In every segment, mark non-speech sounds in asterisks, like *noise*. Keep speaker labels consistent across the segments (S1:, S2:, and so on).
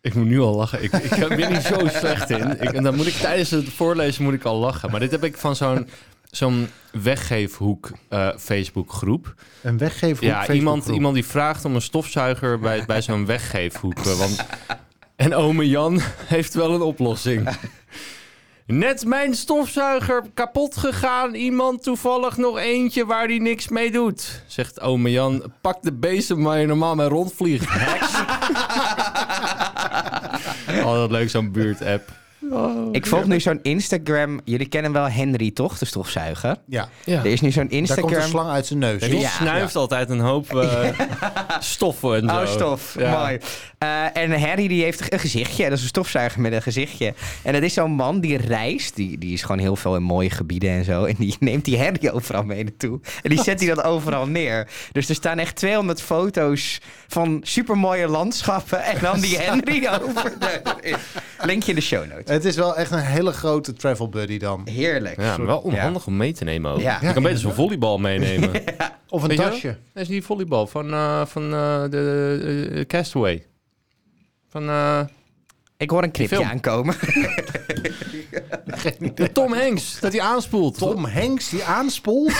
S1: Ik moet nu al lachen. Ik, ik ben hier zo slecht in. Ik, en dan moet ik tijdens het voorlezen moet ik al lachen. Maar dit heb ik van zo'n zo'n weggeefhoek eh Facebook groep.
S2: Een weggever.
S1: Ja, iemand, iemand die vraagt om een stofzuiger
S3: *laughs*
S1: bij, bij zo'n weggeefhoek. eh, Want... En ome Jan *laughs* heeft wel een oplossing. Net mijn stofzuiger kapot gegaan. Iemand toevallig nog eentje waar die niks mee doet. Zegt ome Jan, pak de bezem waar je normaal mee rondvliegt. Heks.
S3: *laughs*
S1: Altijd Oh, leuk, zo'n buurt-app.
S3: Ik volg nu zo'n Instagram. Jullie kennen wel Henry, toch? De stofzuiger.
S2: Ja,
S1: Ja.
S3: Er is nu zo'n
S2: daar komt een
S3: Instagram.
S2: slang uit zijn neus.
S1: Die
S3: Ja.
S1: snuift altijd een hoop eh, stoffen en zo.
S3: Oh, stof.
S1: Ja.
S3: Mooi. Eh, en Harry die heeft een gezichtje. Dat is een stofzuiger met een gezichtje. En dat is zo'n man die reist. Die, die is gewoon heel veel in mooie gebieden en zo. En die *laughs* neemt die Harry overal mee naartoe. En die zet hij dat overal neer. Dus er staan echt 200 foto's van supermooie landschappen. En
S1: *laughs*
S3: dan die Henry over. de- Linkje in de show notes.
S2: Het is wel echt een hele grote travel buddy dan.
S3: Heerlijk.
S1: Ja, maar wel onhandig om mee te nemen ook.
S3: Ja.
S1: Je kan beter zo'n volleybal meenemen.
S2: Of een
S1: Weet je wel?
S2: tasje.
S1: Dat is die volleybal van, eh, van eh, de eh, Castaway. Van eh,
S3: Ik hoor een knipje
S1: film.
S3: aankomen.
S1: de Tom Hanks, dat hij aanspoelt.
S2: Tom Hanks die
S1: *laughs*
S2: aanspoelt.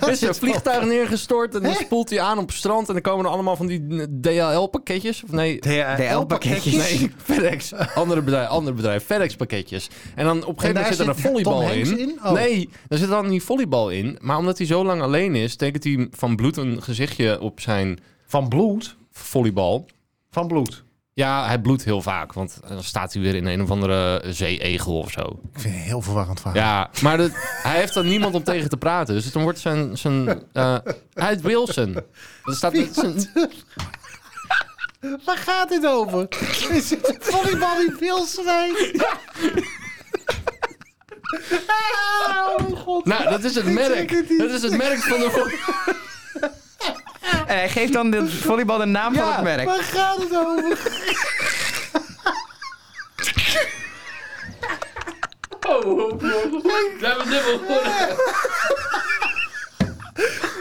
S1: Er
S2: *laughs*
S1: is een vliegtuig neergestort en dan spoelt hij aan op het strand. En dan komen er allemaal van die DHL-pakketjes. Of
S2: *laughs*
S1: nee,
S3: eh, DHL-pakketjes.
S1: nee FedEx. Andere bedrijf, ander bedrijf. FedEx-pakketjes. En dan op een gegeven
S2: daar
S1: moment zit er een
S2: zit
S1: volleybal
S2: Tom Hanks
S1: in.
S2: in? Oh.
S1: Nee, daar zit dan die volleybal in. Maar omdat hij zo lang alleen is, tekent hij van bloed een gezichtje op zijn
S2: Van bloed.
S1: volleybal.
S2: Van bloed.
S1: Ja, hij bloedt heel vaak, want eh, dan staat hij weer in een of andere zeeegel of zo.
S2: Ik vind het een heel verwarrend verhaal.
S1: Ja, maar dat, hij heeft dan niemand om tegen te praten. Dus dan wordt zijn... zijn eh, hij is Wilson. Dan staat met zijn,
S2: Waar gaat dit over? Is het een volleybal in
S1: *laughs*
S2: Wilswijk? Oh mijn god.
S1: nou, dat is het merk. Dat is het merk van de... vo-
S3: En hij geeft Eh, dan de volleybal de naam van het merk.
S2: waar gaat het over?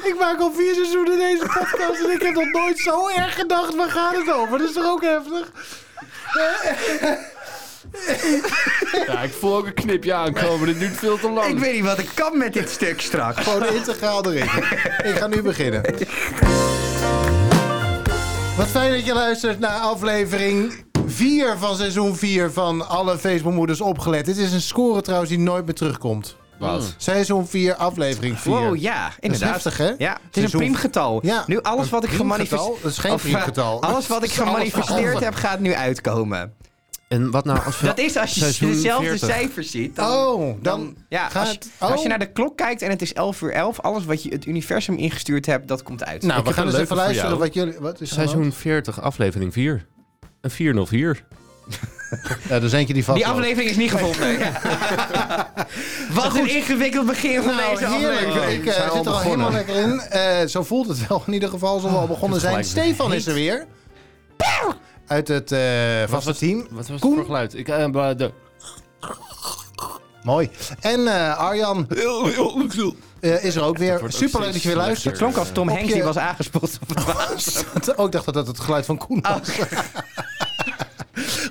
S2: Ik maak al vier seizoenen deze podcast en ik heb nog nooit zo erg gedacht. Waar gaat het over? Dat is toch ook heftig?
S1: Ja, ik voel ook een knipje aankomen. Dit duurt veel te
S3: Ik
S1: lang.
S3: weet niet wat ik kan met dit stuk straks.
S2: Gewoon integraal erin. Ik ga nu beginnen. Wat fijn dat je luistert naar aflevering 4 van seizoen 4 van alle Facebookmoeders opgelet. Dit is een score trouwens die nooit meer terugkomt.
S1: Wat?
S2: Seizoen 4 aflevering 4.
S3: Wow, ja, inderdaad.
S2: heftig, hè?
S3: Ja, het is een
S2: Seizoen-
S3: priemgetal.
S2: Ja,
S3: nu alles
S2: een
S3: wat ik gemanifesteerd...
S2: priemgetal?
S3: eh,
S2: Dat is geen priemgetal.
S3: alles wat ik
S2: Dat is alles
S3: gemanifesteerd
S2: veranderd.
S3: heb, gaat nu uitkomen.
S1: En wat nou als we...
S3: Dat is als je
S1: Seizoen
S3: dezelfde
S1: 40.
S3: cijfers ziet. Dan,
S2: Oh, dan,
S3: ja,
S2: gaat
S3: als, je-
S2: oh.
S3: als je naar de klok kijkt en het is 11 uur 11, alles wat je het universum ingestuurd hebt, dat komt uit.
S2: Nou,
S1: Ik
S2: we
S1: heb
S2: gaan
S1: een
S2: eens even
S1: leuke voor
S2: luisteren
S1: jou.
S2: wat jullie... Wat is er aan de hand?
S1: Seizoen 40, aflevering 4. Een 404.
S2: Ja, dus eentje die vast
S3: die
S2: loopt.
S3: aflevering is niet
S2: *laughs*
S3: gevonden. Ja. Wat een ingewikkeld begin van
S2: Nou,
S3: deze
S2: heerlijk.
S3: aflevering.
S2: Ik
S1: We
S2: eh,
S1: zijn al
S2: zit er al
S1: begonnen.
S2: helemaal lekker in. Eh, zo voelt het wel in ieder geval, zoals we al begonnen zijn.
S1: gelijk
S2: Stefan is er weer. Pew! Uit het eh vaste team.
S1: Wat was
S2: Koen?
S1: het voor geluid? Ik, eh, eh, de,
S2: Mooi. En eh, Arjan eh, is er ook weer.
S1: wordt ook
S2: Superleuk dat je weer
S1: steeds
S2: luistert.
S3: Klonk als Tom
S2: Op
S3: Hanks
S2: je-
S3: die was
S2: *laughs*
S3: aangespoeld. op de baas.
S2: Oh, ik dacht dat dat het geluid van Koen was.
S1: Ah.
S2: *laughs*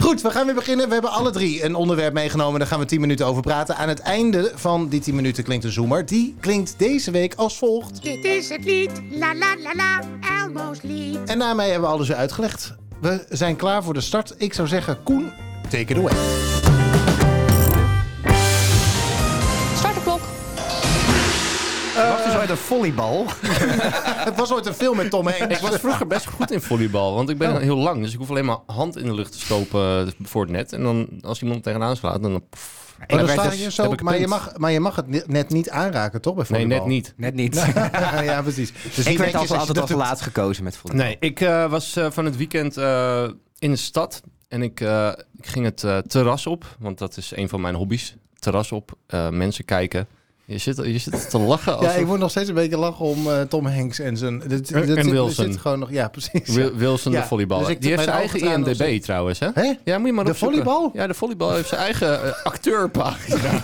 S2: Goed, we gaan weer beginnen. We hebben alle drie een onderwerp meegenomen. Daar gaan we 10 minuten over praten. Aan het einde van die 10 minuten klinkt een zoemer. Die klinkt deze week als volgt.
S4: Dit is het lied, la la la la, Elmo's lied.
S2: En daarmee hebben we alles weer uitgelegd. We zijn klaar voor de start. Ik zou zeggen, Koen, take it away.
S4: Start de klok.
S3: Was dus ooit een volleybal.
S2: Het was ooit een film met Tom Hanks.
S1: Ik was vroeger best goed in volleybal, want ik ben heel lang. Dus ik hoef alleen maar hand in de lucht te stopen eh, voor het net. En dan als iemand tegenaan slaat, dan... pff.
S2: Maar,
S3: Ik
S2: Oh, dan
S3: werd
S2: sta
S3: dus-
S2: je zo,
S1: heb ik
S2: maar, je
S1: punt.
S2: mag, maar je mag het ni- net niet aanraken, toch? Bij
S1: Nee,
S2: volleybal?
S1: net niet.
S3: Net niet.
S2: *laughs* ja, precies. Dus
S3: ik
S2: niet
S3: werd
S2: netjes
S3: altijd,
S2: je
S3: altijd
S2: dat
S3: als
S2: doet.
S3: laat gekozen met volleybal.
S1: Nee, ik eh, was eh, van het weekend eh, in de stad. En ik, eh, ik ging het eh, terras op, want dat is een van mijn hobby's. Terras op, eh, mensen kijken. Je zit, je zit te lachen als
S2: Ja, ik moet nog steeds een beetje lachen om eh, Tom Hanks en zijn... Dat, dat
S1: En
S2: zit- dat
S1: Wilson.
S2: Zit gewoon nog, ja, precies.
S1: Wil- Wilson
S2: Ja,
S1: de volleyballer.
S2: dus ik
S1: Die
S2: doe
S1: heeft zijn
S2: mijn
S1: eigen
S2: ogen tranen nog
S1: IMDB trouwens, hè?
S2: Hè?
S1: Ja, moet je maar
S2: De
S1: opzoeken.
S2: volleybal?
S1: Ja, de volleybal heeft zijn eigen eh, acteurpagina.
S2: Het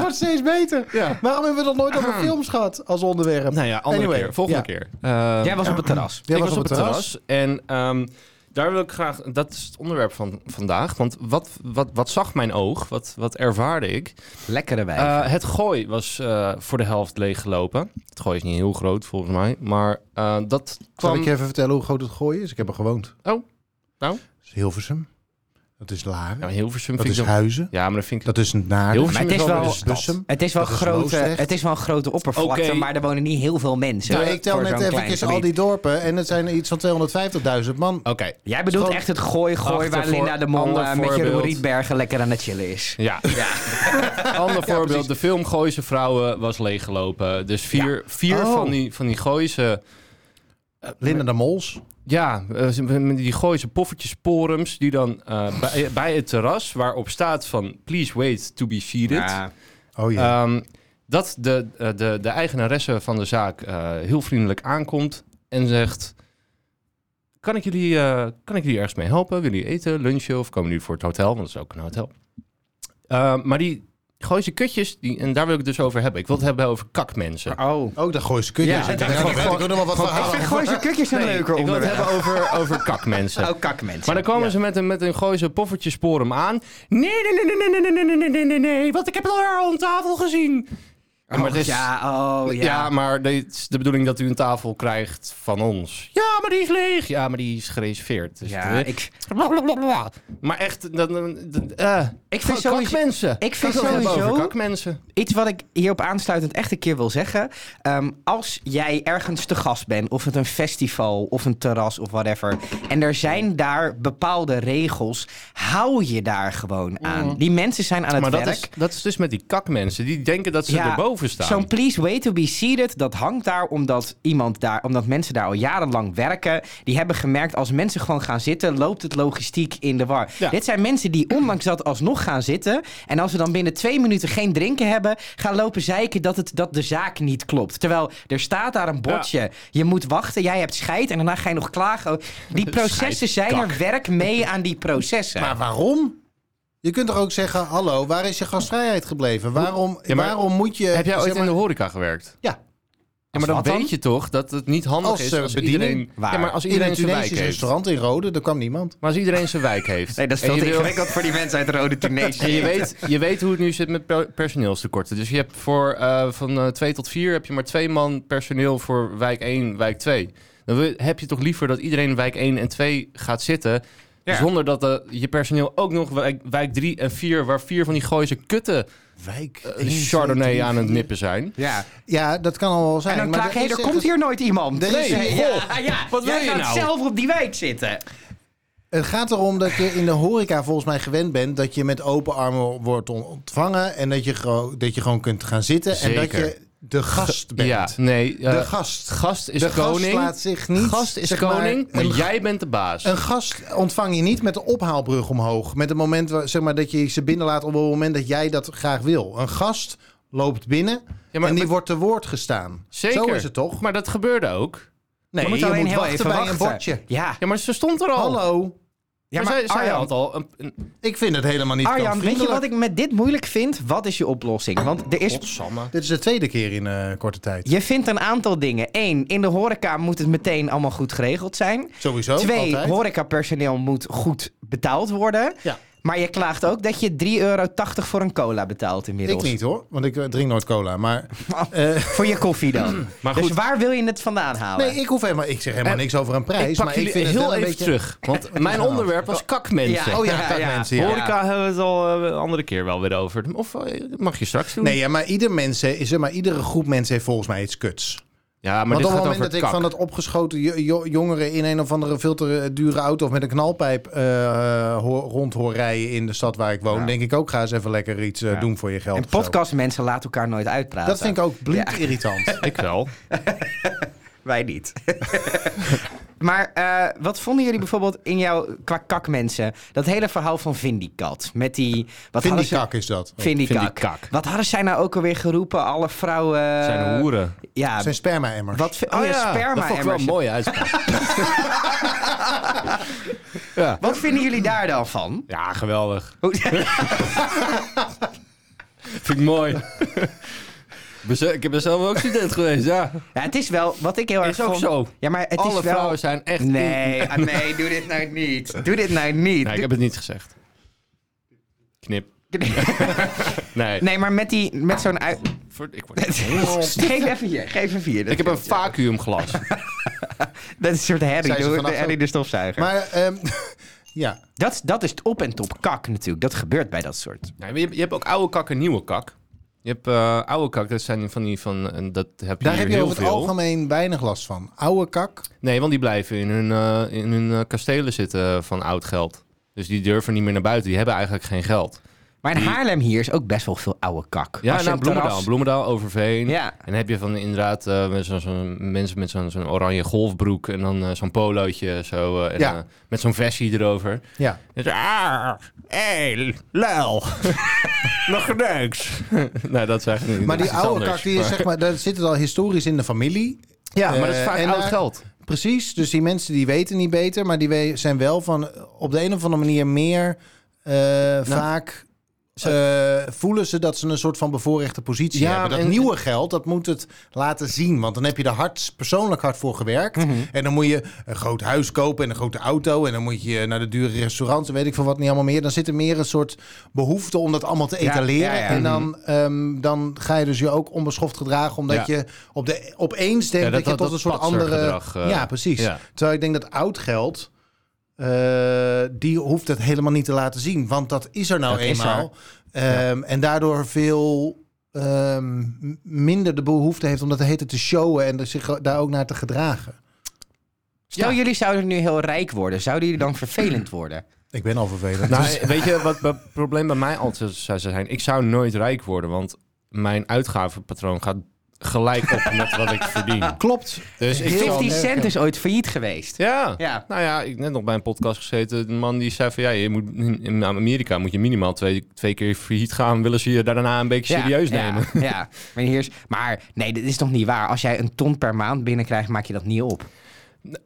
S2: wordt steeds beter.
S1: Ja.
S2: Waarom hebben we dat nooit over films gehad als onderwerp?
S1: Ah. nou ja, andere
S2: Anyway,
S1: keer. Volgende
S2: ja.
S1: keer. Eh,
S3: Jij was op het terras.
S2: Jij
S1: ik was op het terras. En ehm, Daar wil ik graag, dat is het onderwerp van vandaag. Want wat, wat, wat zag mijn oog? Wat, wat ervaarde ik?
S3: Lekkere wijven.
S1: Eh, het gooi was eh, voor de helft leeggelopen. Het gooi is niet heel groot volgens mij. Maar eh, dat
S2: Zal
S1: kwam.
S2: ik je even vertellen hoe groot het gooi is? Ik heb er gewoond.
S1: Oh, nou.
S2: Dat is Hilversum. Dat is Laren.
S1: Ja, Hilversum
S2: dat
S1: vind
S2: is
S1: ik dan-
S2: Huizen.
S1: Ja, maar dat vind ik
S2: Dat is Naarden.
S1: Hilversum
S3: Maar het is
S1: wel
S3: wel-
S1: weer de stad.
S2: Bussum.
S3: het, is wel
S2: dat is
S3: grote,
S2: Loosdrecht.
S3: het is wel een grote oppervlakte,
S1: Oké.
S3: maar er wonen niet heel veel mensen.
S2: Nou, ik tel
S3: voor
S2: net
S3: zo'n klein
S2: eventjes al
S3: gebied.
S2: die dorpen en het zijn iets van 250.000 man.
S1: Oké,
S3: Jij bedoelt
S2: Gewoon
S3: echt het gooi-gooi
S1: achter
S3: waar
S1: voor
S3: Linda de Mol
S1: ander
S3: eh, met Jeroen
S1: voorbeeld.
S3: Rietbergen lekker aan het chillen is.
S2: *laughs*
S1: ja. Ander voorbeeld, de film Gooise Vrouwen was leeggelopen. Dus vier, vier
S2: Oh.
S1: van die, van die Gooise... Eh,
S2: Linda de Mols.
S1: Ja, eh, ze- met die gooise poffertjes porums die dan eh, bij, bij het terras waarop staat van please wait to be seated.
S2: Oh ja.
S1: Ehm, dat de, eh, de, de eigenaresse van de zaak eh, heel vriendelijk aankomt en zegt... Kan ik, jullie, eh, kan ik jullie ergens mee helpen? Willen jullie eten, lunchen of komen jullie voor het hotel? Want dat is ook een hotel. Ehm, maar die gooise kutjes, die, en daar wil ik het dus over hebben. Ik wil het hebben over kakmensen.
S3: Oh.
S2: ook dat gooi ze kutjes.
S1: Eh, ja, dat
S2: Ik denk,
S1: is
S2: nou,
S1: gewoon-
S2: weet ik ook nog wel wat verhalen.
S3: Gooi zijn kukjes een leuker
S1: ik wil het
S3: onderwerp.
S1: hebben over, over
S3: *laughs*
S1: kakmensen.
S3: Oh, kakmensen.
S1: Maar dan komen ze met een, met een gooise poffertjesporum aan. Nee, nee, nee, nee, nee, nee, nee, nee, nee, nee, nee, nee, want ik heb het al haar aan tafel gezien.
S3: Oh,
S1: maar het is-
S3: ja, oh, ja.
S1: Ja, maar dit is de bedoeling dat u een tafel krijgt van ons. Ja, maar die is leeg. Ja, maar die is gereserveerd. Dus
S3: Ja,
S1: dat-
S3: ik,
S1: Blablabla. Maar echt, dan, dan, dan- eh,
S3: ik vind
S1: kak-
S3: sowieso...
S1: kakmensen.
S3: ik vind
S1: Ik wil het hebben
S3: sowieso-
S1: over kakmensen.
S3: Iets wat ik hierop aansluitend echt een keer wil zeggen. Ehm, als jij ergens te gast bent, of het een festival of een terras of whatever. En er zijn daar bepaalde regels. Hou je daar gewoon aan. Die mensen zijn aan het
S1: Mm. Maar dat
S3: werk.
S1: is, dat is dus met die kakmensen. Die denken dat ze
S3: Ja,
S1: erboven staan.
S3: Zo'n please wait to be seated, dat hangt daar omdat, iemand daar omdat mensen daar al jarenlang werken. Die hebben gemerkt, als mensen gewoon gaan zitten, loopt het logistiek in de war.
S1: Ja.
S3: Dit zijn mensen die ondanks dat alsnog gaan zitten. En als ze dan binnen twee minuten geen drinken hebben, gaan lopen zeiken dat, het, dat de zaak niet klopt. Terwijl er staat daar een bordje, je moet wachten, jij hebt scheid en daarna ga je nog
S1: *laughs*
S3: klagen. Die processen zijn er, werk mee aan die processen.
S2: Maar waarom? Je kunt toch ook zeggen, hallo, waar is je gastvrijheid gebleven? Waarom,
S1: Ja, maar-
S2: waarom moet je...
S1: Heb jij ooit
S2: zeg maar-
S1: in de horeca gewerkt?
S2: Ja,
S1: Ja, maar dan
S3: wat dan?
S1: weet je toch dat het niet handig
S2: Als,
S1: is
S2: eh,
S1: als
S2: bediening
S1: iedereen...
S3: waar?
S1: Ja, maar als
S2: in
S1: iedereen
S2: een
S1: zijn wijk
S2: Tunesisch
S1: heeft.
S2: restaurant in Rode, daar kwam
S1: *laughs*
S2: niemand.
S1: Maar als iedereen zijn wijk heeft...
S3: Nee, dat is
S1: en
S3: veel
S1: je
S3: te
S1: wil-
S3: ingewikkeld voor die mensen uit
S1: *laughs*
S3: Rode Tunesië.
S1: En je weet, je weet hoe het nu zit met per- personeelstekorten. Dus je hebt voor eh, van eh, twee tot vier heb je maar twee man personeel voor wijk 1, wijk 2. Dan wil- heb je toch liever dat iedereen in wijk 1 en 2 gaat zitten.
S3: Ja.
S1: Zonder dat eh, je personeel ook nog wijk, wijk 3 en 4, waar vier van die gooise kutten
S2: Wijk.
S1: eh, Chardonnay aan het nippen zijn.
S3: Ja.
S2: Ja, dat kan al wel zijn.
S3: En dan
S2: maar
S3: klaag je,
S2: dat
S3: "Hé,
S2: is
S3: Nou, er
S2: echt-
S3: komt hier nooit iemand.
S2: Nee,
S3: eh,
S1: goh,
S3: ja, ja,
S1: wat
S3: jij
S1: wil je
S3: gaat
S1: nou?
S3: zelf op die wijk zitten.
S2: Het gaat erom dat je in de horeca volgens mij gewend bent dat je met open armen wordt ontvangen en dat je, gro- dat je gewoon kunt gaan zitten en dat
S1: Zeker.
S2: je de gast bent.
S1: Ja, nee. eh,
S2: de gast.
S1: gast is
S2: de gast
S1: koning.
S2: laat zich niet.
S1: Gast is
S2: zeg maar,
S1: koning, maar,
S2: een,
S1: jij bent de baas.
S2: een gast ontvang je niet met de ophaalbrug omhoog. Met het moment waar, zeg maar, dat je ze binnenlaat op het moment dat jij dat graag wil. Een gast loopt binnen
S1: Ja, maar-
S2: en die
S1: maar-
S2: wordt te woord gestaan.
S1: Zeker.
S2: Zo is het toch?
S1: Maar dat gebeurde ook.
S2: nee,
S3: je moet
S2: je
S3: alleen
S2: moet
S3: heel
S2: wachten
S3: even
S2: bij
S3: wachten.
S2: een bordje. Oh.
S3: Ja.
S1: Ja, maar ze stond er al.
S2: Hallo.
S3: Ja,
S1: maar,
S3: maar
S1: zij, zij
S3: Arjan-
S1: had al een, een
S2: Ik vind het helemaal niet
S3: Arjan, weet je
S2: klantvriendelijk.
S3: wat ik met dit moeilijk vind? Wat is je oplossing? Want er is...
S1: Godsamme.
S2: Dit is de tweede keer in eh, korte tijd.
S3: Je vindt een aantal dingen. Eén, in de horeca moet het meteen allemaal goed geregeld zijn.
S2: Sowieso.
S3: Twee,
S2: altijd.
S3: horecapersoneel moet goed betaald worden.
S2: Ja.
S3: Maar je klaagt ook dat je 3,80 euro voor een cola betaalt
S2: Ik
S3: inmiddels.
S2: niet hoor, want ik eh, drink nooit cola. Maar
S1: Nou,
S2: eh,
S3: *laughs* Voor je koffie dan.
S1: Maar
S3: dus
S1: goed.
S3: waar wil je het vandaan halen?
S2: nee, ik hoef helemaal, ik zeg helemaal
S1: Eh,
S2: niks over een prijs.
S1: Ik pak
S2: maar
S1: jullie
S2: ik vind het
S1: heel
S2: wel
S1: even
S2: een beetje, *laughs*
S1: terug. Want mijn onderwerp was kakmensen.
S3: Ja.
S2: Oh ja, mensen. Ja.
S1: Horeca hebben we het al eh, een andere keer wel weer over. Of eh, mag je straks doen.
S2: Nee, ja, maar ieder mensen is er, maar iedere groep mensen heeft volgens mij iets kuts.
S1: Ja, maar
S2: Want
S1: dit
S2: op het
S1: gaat
S2: moment
S1: over
S2: dat ik
S1: kak.
S2: van dat opgeschoten jo- jo- jongeren in een of andere veel te eh, dure auto of met een knalpijp eh ho- rond hoor rijden in de stad waar ik woon, denk ik ook ga eens even lekker iets eh, doen voor je geld.
S3: En
S2: of zo.
S3: podcastmensen laten elkaar nooit uitpraten.
S2: Dat vind ik ook bloed
S1: *laughs*
S2: irritant.
S1: Ik wel.
S3: Wij niet. *laughs* maar eh, wat vonden jullie bijvoorbeeld in jouw qua kakmensen? Dat hele verhaal van Vindicat. Met die. Wat
S2: Vind
S3: hadden
S2: die
S3: ze-
S2: kak is dat.
S3: Vindicak.
S1: Vindicak.
S3: Wat hadden zij nou ook alweer geroepen? Alle vrouwen.
S1: zijn hoeren.
S3: Ja.
S2: Zijn sperma-emmers.
S3: Wat vi- oh, ja,
S1: dat
S3: sperma
S1: vond ik wel een mooie uitspraak. ja.
S3: Wat vinden jullie daar dan
S1: *laughs*
S3: van?
S1: ja, geweldig.
S3: Hoe-
S1: *laughs* Vind ik mooi. Ben ze- Ik ben zelf ook student geweest, ja.
S3: Ja, het is wel wat ik heel erg
S1: Is ook
S3: vond-
S1: zo.
S3: Ja, maar het
S1: Alle
S3: is wel...
S1: vrouwen zijn echt...
S3: Nee, ah, nee, doe dit nou niet. Doe dit nou niet.
S1: Nee, ik heb het niet gezegd. Knip. Nee.
S3: *laughs* Nee, maar met, die- met zo'n uit...
S1: Ver- Ik, word heel-
S3: Geef even hier, geef even hier.
S1: ik heb een vacuümglas. *laughs*
S3: Dat is een soort herrie,
S2: Zijn ze
S3: de- de,
S2: vannacht
S3: herrie
S2: ook?
S3: de stofzuiger.
S2: Maar ehm, *laughs* ja,
S3: dat, dat is het op en top kak natuurlijk. Dat gebeurt bij dat soort.
S1: Nee, maar je, hebt- je hebt ook oude kak en nieuwe kak. Je hebt eh, oude kak, dat zijn van die van... En dat heb je
S2: daar
S1: hier
S2: heb je
S1: heel
S2: over het
S1: veel.
S2: algemeen weinig last van. Oude kak.
S1: Nee, want die blijven in hun, eh, in hun eh, kastelen zitten van oud geld. Dus die durven niet meer naar buiten. Die hebben eigenlijk geen geld.
S3: Maar in Haarlem hier is ook best wel veel oude kak.
S1: Mm. Ja,
S3: Als je
S1: nou,
S3: een terras-
S1: Bloemendaal. Bloemendaal, Overveen.
S3: Ja.
S1: En dan heb je van inderdaad eh, met zo'n- zo'n- mensen met zo'n zo'n oranje golfbroek en dan eh, zo'n polootje zo. eh, en,
S2: Ja.
S1: eh, met zo'n versie erover.
S2: Ja.
S1: En zo, ah, hey, lel. *laughs* Nog niks. *laughs* nou, dat zeg ik niet.
S2: Maar
S1: Dat
S2: die
S1: is iets
S2: oude
S1: anders.
S2: kak, die is, zeg maar, dat zit het al historisch in de familie.
S1: Ja, maar dat is
S2: Eh,
S1: vaak
S2: en
S1: oud
S2: daar-
S1: geld.
S2: Precies, dus die mensen die weten niet beter, maar die we- zijn wel van op de een of andere manier meer eh, vaak eh, voelen ze dat ze een soort van bevoorrechte positie
S1: Ja,
S2: hebben. Dat
S1: en-
S2: nieuwe geld, dat moet het laten zien, want dan heb je er hard, persoonlijk hard voor gewerkt. En dan moet je een groot huis kopen en een grote auto en dan moet je naar de dure restaurants en weet ik veel wat niet allemaal meer. Dan zit er meer een soort behoefte om dat allemaal te
S3: Ja,
S2: etaleren.
S3: ja, ja.
S2: En dan, ehm, dan ga je dus je ook onbeschoft gedragen, omdat
S1: Ja.
S2: je op de, opeens denkt
S1: Ja,
S2: dat,
S1: dat-
S2: je
S1: dat-
S2: tot
S1: dat
S2: een soort andere...
S1: patsergedrag, eh,
S2: ja, precies.
S1: ja.
S2: Terwijl ik denk dat oud geld, eh, die hoeft het helemaal niet te laten zien. Want dat is er nou
S3: Dat is
S2: eenmaal. Ehm, En daardoor veel ehm, m- minder de behoefte heeft om dat de hete te showen en er zich daar ook naar te gedragen.
S3: Stel,
S1: Ja.
S3: jullie zouden nu heel rijk worden. Zouden jullie dan vervelend worden?
S2: Ik ben al vervelend.
S1: Nou, weet je wat het probleem bij mij altijd zou zijn? Ik zou nooit rijk worden, want mijn uitgavenpatroon gaat gelijk op met wat ik verdien.
S2: *laughs* Klopt.
S1: Dus ik zal-
S3: 50 cent is ooit failliet geweest.
S1: Ja.
S3: Ja.
S1: Nou ja, ik net nog bij een podcast gezeten. De man die zei van ja, je moet in in Amerika moet je minimaal twee, twee keer failliet gaan. Willen ze je daarna een beetje serieus
S3: ja,
S1: nemen?
S3: Ja, ja. Maar, hier is, maar nee, dit is toch niet waar? Als jij een ton per maand binnenkrijgt, maak je dat niet op.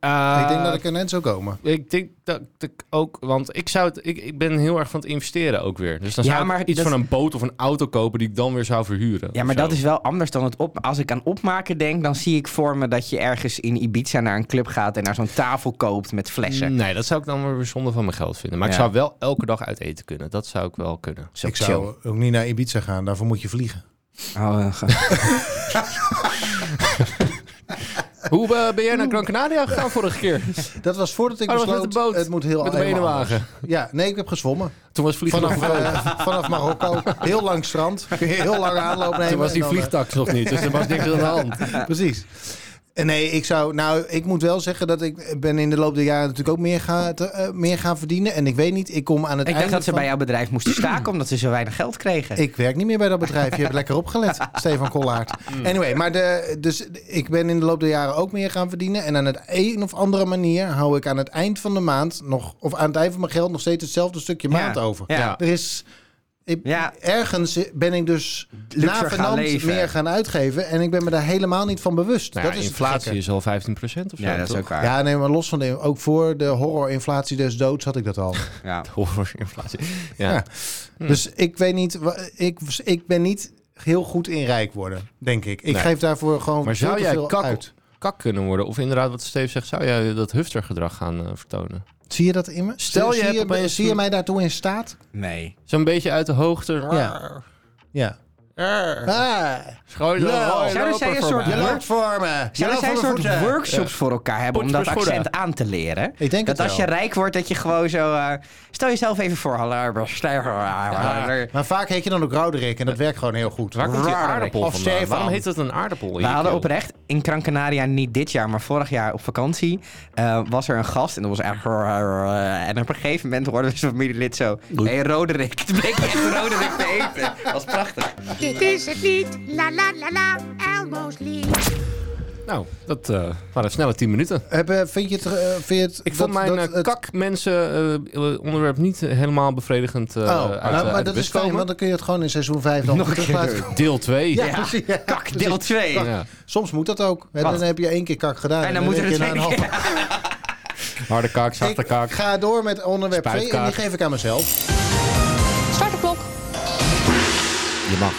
S1: Eh,
S2: ik denk dat ik er net zou komen.
S1: ik denk dat ik ook, want ik zou het, ik, ik ben heel erg van het investeren ook weer. Dus dan
S3: Ja,
S1: zou ik
S3: maar
S1: iets
S3: dat-
S1: van een boot of een auto kopen die ik dan weer zou verhuren.
S3: Ja,
S1: of
S3: maar
S1: zo.
S3: dat is wel anders dan het op. Als ik aan opmaken denk, dan zie ik voor me dat je ergens in Ibiza naar een club gaat en naar zo'n tafel koopt met flessen.
S1: Nee, dat zou ik dan weer zonde van mijn geld vinden. Maar ik
S3: Ja.
S1: zou wel elke dag uit eten kunnen. Dat zou ik wel kunnen.
S3: Zo
S2: Ik zou ook niet naar Ibiza gaan, daarvoor moet je vliegen.
S3: chill. Oh, eh, ge-
S1: Hoe eh, ben jij naar Gran Canaria gegaan vorige
S3: *laughs*
S1: keer?
S2: Dat was voordat ik
S1: Oh, dat was
S2: besloot,
S1: met de boot.
S2: het moet heel
S1: Met de
S2: helemaal
S1: benenwagen.
S2: anders. Ja, nee, ik heb gezwommen.
S1: Toen was vliegen nog
S2: Vanaf,
S1: groot.
S2: eh, vanaf Marokko, heel lang strand, heel lang aanloop nemen.
S1: Toen was die
S2: en dan, eh,
S1: vliegtax nog niet, dus er was niks aan de hand.
S2: Precies. En Nee, ik zou. Nou, ik moet wel zeggen dat ik ben in de loop der jaren natuurlijk ook meer, ga, te- eh, meer gaan verdienen. En ik weet niet, ik kom aan het
S3: *laughs* ik
S2: einde.
S3: dacht dat ze
S2: van-
S3: bij jouw
S2: *clears throat*
S3: bedrijf moesten staken omdat ze zo weinig geld kregen.
S2: Ik werk niet meer bij dat bedrijf. Je hebt lekker
S3: *laughs*
S2: opgelet, Stefan Kollaert.
S3: Mm.
S2: Anyway, maar de, dus ik ben in de loop der jaren ook meer gaan verdienen. En aan het een of andere manier hou ik aan het eind van de maand nog, of aan het eind van mijn geld nog steeds hetzelfde stukje
S3: Ja,
S2: maand over.
S3: ja.
S2: Er is. Ik,
S3: Ja.
S2: Ergens ben ik dus
S3: Luxer
S2: na
S3: gaan
S2: Fernand
S3: leven.
S2: meer gaan uitgeven. En ik ben me daar helemaal niet van bewust.
S1: Nou ja,
S2: dat is het gekke.
S1: inflatie is al 15% of zo.
S3: ja, dat is
S1: toch?
S3: ook waar.
S2: Ja, nee, maar los van de... Ook voor de horrorinflatie des doods had ik dat al.
S3: Ja. *laughs*
S1: Horrorinflatie. Ja.
S2: *laughs*
S1: Hm.
S2: Ja. Dus ik weet niet... wa- Ik, ik ben niet heel goed in rijk worden, denk ik. Ik
S1: Nee.
S2: geef daarvoor gewoon
S1: Maar
S2: veel
S1: zou
S2: te
S1: jij
S2: veel
S1: kak,
S2: uit.
S1: kak kunnen worden? Of inderdaad, wat Steve zegt, zou jij dat huftergedrag gaan eh, vertonen?
S2: Zie je dat in me?
S1: Stel, je
S2: zie,
S1: hebt
S2: zie
S1: opeens
S2: zie je
S1: een-
S2: mij daartoe in staat?
S3: Nee.
S1: Zo'n beetje uit de hoogte.
S2: Ja. Ja. Ah,
S1: Schoon
S2: Lul.
S3: Zouden zij een soort
S2: je
S3: Ja.
S2: loopt voor me. Je
S3: Zouden
S2: loopt
S3: zij een
S2: voor mijn
S3: soort
S2: voeten.
S3: workshops voor elkaar hebben om
S1: Potje
S3: dat
S1: voor schoenen.
S3: accent aan te leren?
S2: Ik denk
S3: dat
S2: het
S3: als je
S2: wel.
S3: rijk wordt, dat je gewoon zo... eh, stel jezelf even voor. Hallo, stijger.
S2: Ja. Maar vaak heet je dan ook Roderick en dat werkt gewoon heel goed.
S1: Waar komt die
S3: Raar.
S1: aardappel
S2: Of
S1: vandaan?
S2: Stefan.
S1: Waarom heet dat een aardappel? in
S3: We
S1: je
S3: hadden
S1: keel?
S3: oprecht in Gran Canaria, niet dit jaar, maar vorig jaar op vakantie, eh, was er een gast en dat was echt... *laughs* En op een gegeven moment hoorden we zijn familielid zo... hey, Roderick. *laughs* Toen bleek echt Roderick te eten. Dat was prachtig.
S4: Dit is het niet. La la la la, Elmo's lied.
S1: Nou, dat eh, waren snelle 10 minuten.
S2: Heb, eh, vind je het... eh, vind je het
S1: Ik vond
S2: dat-
S1: mijn
S2: dat
S1: eh,
S2: het-
S1: kakmensen eh, onderwerp niet helemaal bevredigend eh
S2: Oh,
S1: uit,
S2: nou,
S1: uit
S2: maar
S1: de
S2: dat
S1: bus
S2: is fijn,
S1: komen.
S2: want dan kun je het gewoon in seizoen 5 nog,
S3: Nog een keer
S2: terug laten
S3: doen.
S2: komen.
S1: Deel 2.
S2: *laughs* Ja,
S1: Ja.
S2: precies. Ja.
S3: Kak, deel 2.
S2: Soms moet dat ook. Hè,
S3: Wat?
S2: Dan heb je één keer kak gedaan.
S3: En dan moet
S2: heb
S3: er dus
S2: je
S3: een
S2: na een half-
S3: tweede-
S1: Harde kak, zachte
S2: Ik
S1: kak.
S2: ga door met onderwerp 2 en
S1: Spuitkak.
S2: die geef ik aan mezelf.
S5: Start de klok.
S1: Je mag.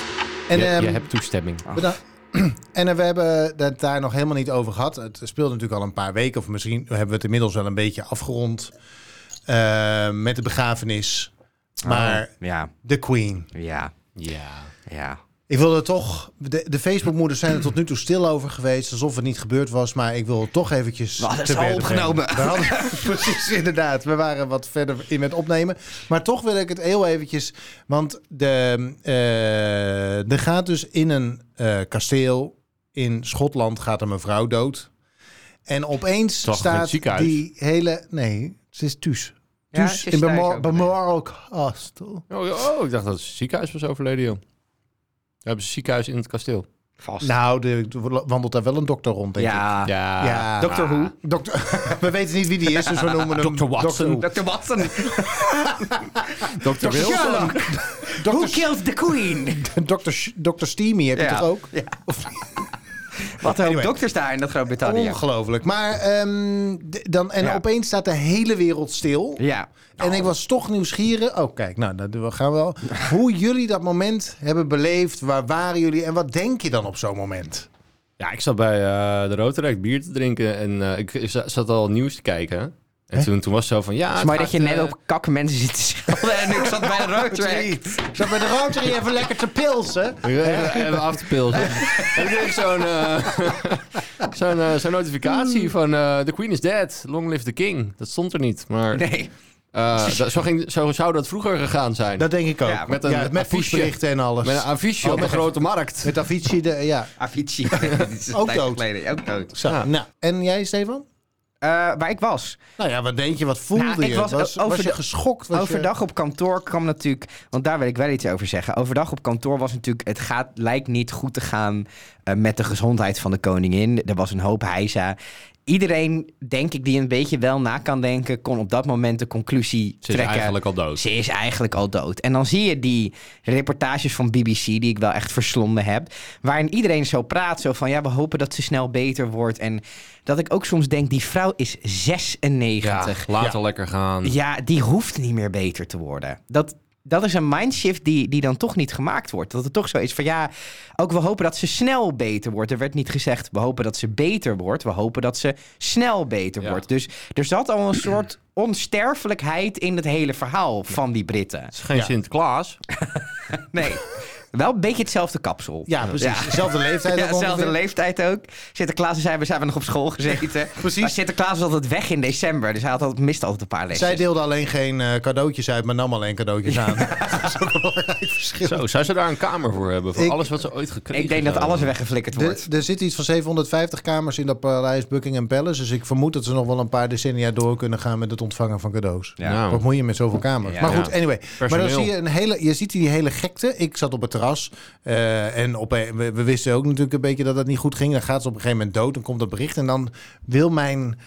S2: En,
S1: je,
S2: ehm,
S1: je hebt toestemming.
S2: Bedankt. *clears throat* En eh, we hebben het daar nog helemaal niet over gehad. Het speelde natuurlijk al een paar weken, of misschien hebben we het inmiddels wel een beetje afgerond eh, met de begrafenis. Maar
S3: Oh, ja,
S2: de Queen.
S3: ja,
S1: Ja.
S3: ja.
S2: Ik wilde toch. De, de Facebookmoeders zijn er tot nu toe stil over geweest, alsof het niet gebeurd was. Maar ik wil het toch eventjes.
S3: We hadden
S2: te
S3: ze al
S2: berde brengen.
S3: opgenomen.
S2: We hadden- precies, inderdaad. We waren wat verder in met opnemen. Maar toch wil ik het heel eventjes. Want de, eh, er gaat dus in een eh, kasteel in Schotland gaat een mevrouw dood. En opeens
S1: lag in het
S2: staat
S1: ziekenhuis.
S2: die hele. Nee, ze is thuis.
S3: Ja,
S2: Thuis
S3: ze is
S2: in
S3: thuis
S2: Bemo-
S3: ook.
S2: Balmoral Castle.
S1: Oh, oh, ik dacht dat het ziekenhuis was overleden, joh. Daar hebben ze een ziekenhuis in het kasteel.
S3: Vast.
S2: Nou, de- er wandelt daar wel een dokter rond, denk ik.
S3: ja.
S1: Ja.
S2: Ja.
S3: Dr. Who.
S2: Dokter, Ah, *laughs* we weten niet wie die is, dus we noemen hem...
S1: Dr. Watson.
S3: Dr.
S2: *laughs*
S3: Watson.
S1: Dr. Wilson.
S3: Who
S2: Dokter
S3: killed the queen?
S2: Dr. Sh- Dr. Steamy heb je
S3: Ja.
S2: toch ook?
S3: Ja. Wat een hoop
S2: Anyway.
S3: dokters daar in dat Groot-Brittannië.
S2: Ongelooflijk. Maar ehm, d- dan, en
S3: Ja.
S2: opeens staat de hele wereld stil.
S3: Ja.
S2: En ik was toch nieuwsgierig. Oh, kijk, nou, dat doen we gaan we wel. Hoe jullie dat moment hebben beleefd. Waar waren jullie en wat denk je dan op zo'n moment?
S1: Ja, ik zat bij eh, de Rotaract bier te drinken en eh, ik za- zat al nieuws te kijken. En toen, toen was het zo van, ja...
S3: Het
S1: het
S3: is mooi dat
S1: gaat,
S3: je net
S1: eh,
S3: op kak mensen zit te schelden en ik zat
S2: *laughs*
S3: bij de road track.
S2: Ik zat bij de Rotary even lekker te pilsen.
S1: eh, Even af te pilsen. en
S3: *laughs*
S1: toen kreeg ik zo'n eh, zo'n, eh, *laughs* zo'n
S3: Mm.
S1: notificatie van eh, The Queen is dead, long live the king. Dat stond er niet, maar
S3: Nee.
S1: eh, dat- zo, ging, zo zou dat vroeger gegaan zijn.
S2: Dat denk ik ook.
S3: Ja,
S1: met een
S2: ja, met
S1: affiche.
S2: pushberichten en alles.
S1: Met een affiche
S2: Oh,
S1: op de
S2: met-
S1: grote markt.
S2: Met Avicii, de, ja. *laughs*
S3: Avicii. *laughs* Dit is een
S2: Ook
S3: tijdje
S2: dood.
S3: geleden. Ook dood.
S2: Zo, nou. En jij, Stefan?
S3: Eh, waar ik was.
S2: Nou ja, wat denk je? Wat voelde
S3: Nou, ik
S2: je?
S3: was
S2: Was, was,
S3: o- over
S2: je
S3: de-
S2: geschokt? Was je-
S3: Overdag op kantoor kwam natuurlijk, want daar wil ik wel iets over zeggen. Overdag op kantoor was natuurlijk, het gaat, lijkt niet goed te gaan eh, met de gezondheid van de koningin. Er was een hoop hijza. Iedereen, denk ik, die een beetje wel na kan denken, kon op dat moment de conclusie
S1: Ze is
S3: trekken.
S1: eigenlijk al dood.
S3: Ze is eigenlijk al dood. En dan zie je die reportages van BBC, die ik wel echt verslonden heb. Waarin iedereen zo praat, zo van ja, we hopen dat ze snel beter wordt. En dat ik ook soms denk, die vrouw is 96. Ja,
S1: later lekker gaan.
S3: die hoeft niet meer beter te worden. Dat, dat is een mindshift die, die dan toch niet gemaakt wordt. Dat het toch zo is van ja, ook we hopen dat ze snel beter wordt. Er werd niet gezegd, we hopen dat ze beter wordt. We hopen dat ze snel beter
S1: Ja.
S3: wordt. Dus er zat al een soort onsterfelijkheid in het hele verhaal van die Britten.
S1: Het is geen Sinterklaas.
S3: Nee. Wel een beetje hetzelfde kapsel.
S2: Ja, precies.
S3: Ja.
S2: Dezelfde leeftijd.
S3: Ja,
S2: ook ongeveer.
S3: dezelfde leeftijd ook. Sinterklaas zijn we, zijn we nog op school gezeten.
S2: precies.
S3: Maar Sinterklaas was altijd weg in december, dus hij had altijd, mist altijd een paar lessen.
S2: Zij deelde alleen geen eh, cadeautjes uit, maar nam alleen cadeautjes aan. *laughs* dat is ook een belangrijk verschil.
S1: *laughs* Zo, zou ze daar een kamer voor hebben? Voor
S2: Ik-
S1: alles wat ze ooit gekregen
S3: Ik denk dat
S1: zouden
S3: alles
S1: hebben?
S3: weggeflikkerd
S2: Er,
S3: wordt.
S2: er zitten iets van 750 kamers in dat paleis Buckingham Palace. Dus ik vermoed dat ze nog wel een paar decennia door kunnen gaan met het ontvangen van cadeaus.
S3: Ja.
S1: Nou,
S2: Wat moet je met zoveel kamers?
S3: Ja.
S2: maar goed,
S1: Ja.
S2: anyway. Maar dan
S1: Personeel.
S2: zie je, een hele, je ziet die hele gekte. Ik zat op het terras eh, en op, een- we, we wisten ook natuurlijk een beetje dat het niet goed ging. Dan gaat ze op een gegeven moment dood, dan komt dat bericht. En dan wil mijn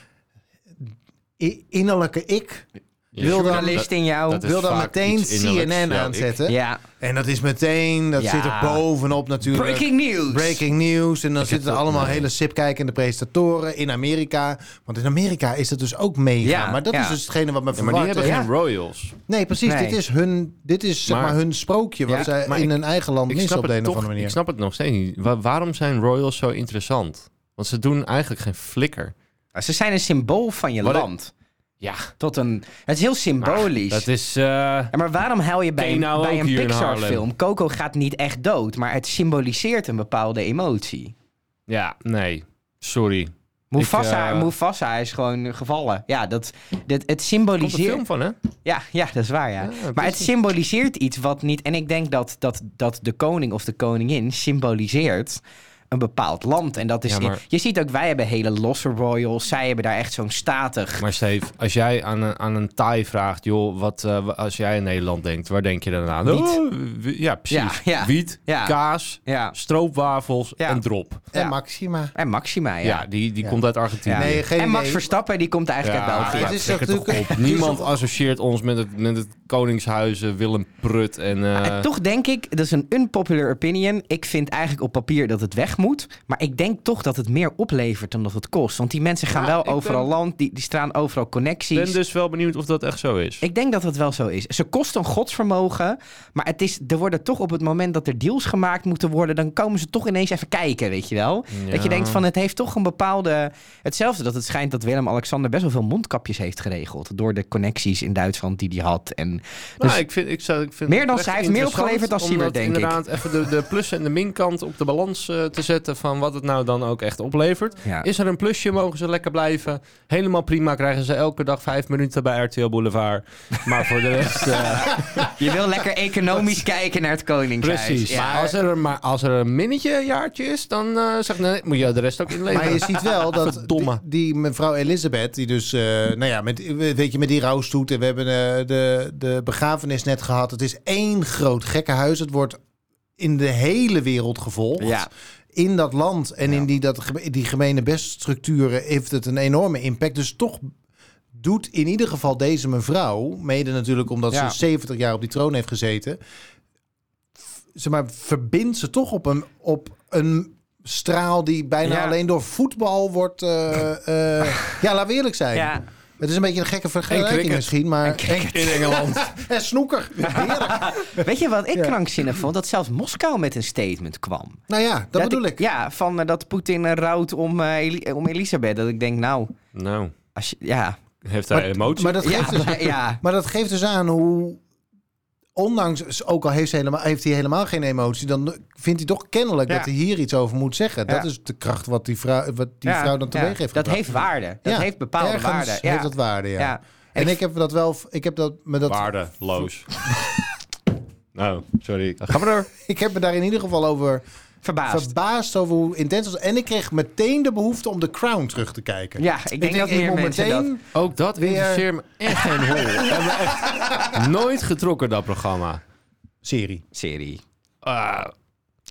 S2: i- innerlijke ik
S1: ja.
S2: wil dan,
S3: Journalist in jou.
S1: dat is
S2: wil dan
S1: vaak
S2: meteen
S1: iets innerlijks.
S2: CNN
S1: Ja, ik-
S2: aanzetten.
S3: Ja.
S2: En dat is meteen, dat
S3: Ja.
S2: zit er bovenop natuurlijk.
S3: Breaking news.
S2: Breaking news. En dan zitten er allemaal hele sipkijkende presentatoren in Amerika. Want in Amerika is dat dus ook mega.
S3: Ja,
S2: maar dat
S3: ja.
S2: is dus hetgene wat me
S1: Ja, maar die
S2: verwacht.
S1: hebben
S2: heeft.
S1: geen royals.
S2: Nee, precies.
S3: Nee.
S2: Dit is hun, dit is, zeg maar,
S1: Maar-
S2: hun sprookje. Wat
S3: Ja,
S2: zij
S1: maar
S2: in
S1: ik-
S2: hun eigen land
S1: Ik
S2: missen
S1: snap,
S2: op de
S1: het
S2: een of andere
S1: toch, ik
S2: manier.
S1: snap het nog steeds niet. Wa- waarom zijn royals zo interessant? Want ze doen eigenlijk geen flikker.
S3: Nou, Ze zijn een symbool van je
S1: Wat-
S3: land.
S1: Ja,
S3: Tot een, het is heel symbolisch.
S1: dat is... eh,
S3: Ja, maar waarom huil je bij,
S1: Ken je nou
S3: bij
S1: ook
S3: een
S1: hier in
S3: Pixar-film?
S1: Haarlem?
S3: Coco gaat niet echt dood, maar het symboliseert een bepaalde emotie.
S1: ja, nee. Sorry.
S3: Mufasa,
S1: Ik, eh,
S3: Mufasa is gewoon gevallen. Ja, dat, dat, het
S1: Komt er film
S3: symboliseert...
S1: van, hè?
S3: Ja, ja, dat is waar, ja.
S1: Ja, dat
S3: maar
S1: is
S3: het
S1: het.
S3: symboliseert iets wat niet... En ik denk dat, dat, dat de koning of de koningin symboliseert een bepaald land. En dat is...
S1: Ja, maar-
S3: Je ziet ook, wij hebben hele losse royals. Zij hebben daar echt zo'n statig...
S1: Maar Steve, als jij aan een, aan een Thai vraagt... joh, wat, eh, wa- als jij in Nederland denkt, waar denk je dan aan?
S3: Wiet.
S1: Oh, wi- ja, precies.
S3: Ja, ja.
S1: Wiet,
S3: Ja.
S1: kaas,
S3: Ja.
S1: stroopwafels
S3: Ja.
S1: en drop.
S2: En
S3: Ja.
S2: Maxima.
S3: En Maxima, ja.
S1: Ja, die, die
S2: Ja.
S1: komt uit Argentinië.
S3: Ja.
S2: Nee, geen
S3: en Max
S2: idee.
S3: Verstappen, die komt eigenlijk uit België.
S2: het is
S1: trek
S2: toch
S1: het
S3: *laughs*
S1: toch
S2: natuurlijk-
S1: op.
S2: *laughs*
S1: Niemand associeert ons met het, met het Koningshuizen, Willem Prut en... eh,
S3: En toch denk ik, dat is een unpopular opinion. Ik vind eigenlijk op papier dat het weg moet. Maar ik denk toch dat het meer oplevert dan dat het kost. Want die mensen gaan
S1: Ja,
S3: wel
S1: ik
S3: overal
S1: ben-
S3: land, die, die staan overal
S1: Ik
S3: connecties.
S1: ben dus wel benieuwd of dat echt zo is.
S3: Ik denk dat dat wel zo is. Ze kosten een godsvermogen, maar het is, er worden toch op het moment dat er deals gemaakt moeten worden, dan komen ze toch ineens even kijken, weet je wel? Dat je denkt van het heeft toch een bepaalde. Hetzelfde dat het schijnt dat Willem-Alexander best wel veel mondkapjes heeft geregeld. Door de connecties in Duitsland die hij had. En
S1: Nou,
S3: dus-
S1: ik vind, ik zou, ik vind
S3: Meer dan
S1: het
S3: zij
S1: echt
S3: heeft meer
S1: interessant
S3: opgeleverd dan
S1: om
S3: Siebert,
S1: dat
S3: denk ik.
S1: inderdaad even de, de plus- en de minkant op de balans eh, te zetten van wat het nou dan ook echt oplevert.
S3: ja.
S1: Is er een plusje, mogen ze lekker blijven. Helemaal prima, krijgen ze elke dag vijf minuten bij RTL Boulevard. Maar voor de
S3: *laughs*
S1: rest... eh,
S3: Je wil
S2: *laughs*
S3: lekker economisch kijken naar het Koningshuis.
S1: precies.
S3: Ja.
S1: Maar, als er, maar als er een minnetje jaartje is, dan eh, zeg ik, nee, moet je de rest ook inleveren.
S2: Maar je ziet wel dat die,
S1: Verdomme.
S2: die mevrouw Elisabeth, die dus, eh, nou ja, met, weet je, met die rouwstoet en we hebben eh, de, de begrafenis net gehad. Het is één groot gekkenhuis. Het wordt in de hele wereld gevolgd.
S3: Ja.
S2: In dat land en
S3: Ja.
S2: in die, dat, geme- die gemene beststructuren heeft het een enorme impact. Dus toch doet in ieder geval deze mevrouw, mede natuurlijk omdat
S3: Ja.
S2: ze 70 jaar op die troon heeft gezeten, f- zeg maar, verbindt ze toch op een, op een straal die bijna
S3: Ja.
S2: alleen door voetbal wordt.
S3: *laughs*
S2: eh, eh, ja, laten we eerlijk zijn.
S3: Ja.
S2: Het is een beetje een gekke
S1: En
S2: vergelijking
S1: cricket.
S2: misschien, maar. *laughs* En,
S1: in Engeland.
S2: en snoeker. Heerlijk.
S3: Weet je wat ik
S2: Ja.
S3: krankzinnig vond? Dat zelfs Moskou met een statement kwam.
S2: Nou ja, dat, bedoel ik.
S3: Ja, van eh, dat Poetin eh, rouwt om, eh, Eli- eh, om Elisabeth. Dat ik denk, nou,
S1: nou,
S3: als je, ja.
S1: heeft hij emotie?
S2: Maar dat
S3: ja,
S2: geeft dus
S3: maar- ja.
S2: Maar dat geeft dus aan hoe. Ondanks, ook al heeft, ze helemaal, heeft hij helemaal geen emotie, dan vindt hij toch kennelijk
S3: Ja.
S2: dat hij hier iets over moet zeggen. Dat
S3: Ja.
S2: is de kracht wat die vrouw, wat die
S3: Ja,
S2: vrouw dan teweeg
S3: ja.
S2: heeft
S3: Dat
S2: gebracht.
S3: heeft waarde. Dat
S2: Ja,
S3: heeft bepaalde
S2: ergens
S3: waarde. Ja.
S2: heeft dat waarde, ja.
S3: Ja.
S2: En, ik heb dat wel, ik heb dat me dat,
S1: *laughs* Waardeloos. nou, sorry. Ga maar door.
S2: ik heb me daar in ieder geval over
S3: Verbaasd.
S2: verbaasd over hoe intens het was. En ik kreeg meteen de behoefte om de Crown terug te kijken.
S3: ja, ik denk dat
S2: ik
S3: meer
S2: moet
S3: mensen dat...
S2: meteen,
S1: Ook dat
S2: Weer-
S1: interesseert me echt geen hol. We hebben echt nooit getrokken, dat programma.
S2: serie.
S3: Serie.
S1: Ah,
S2: Eh.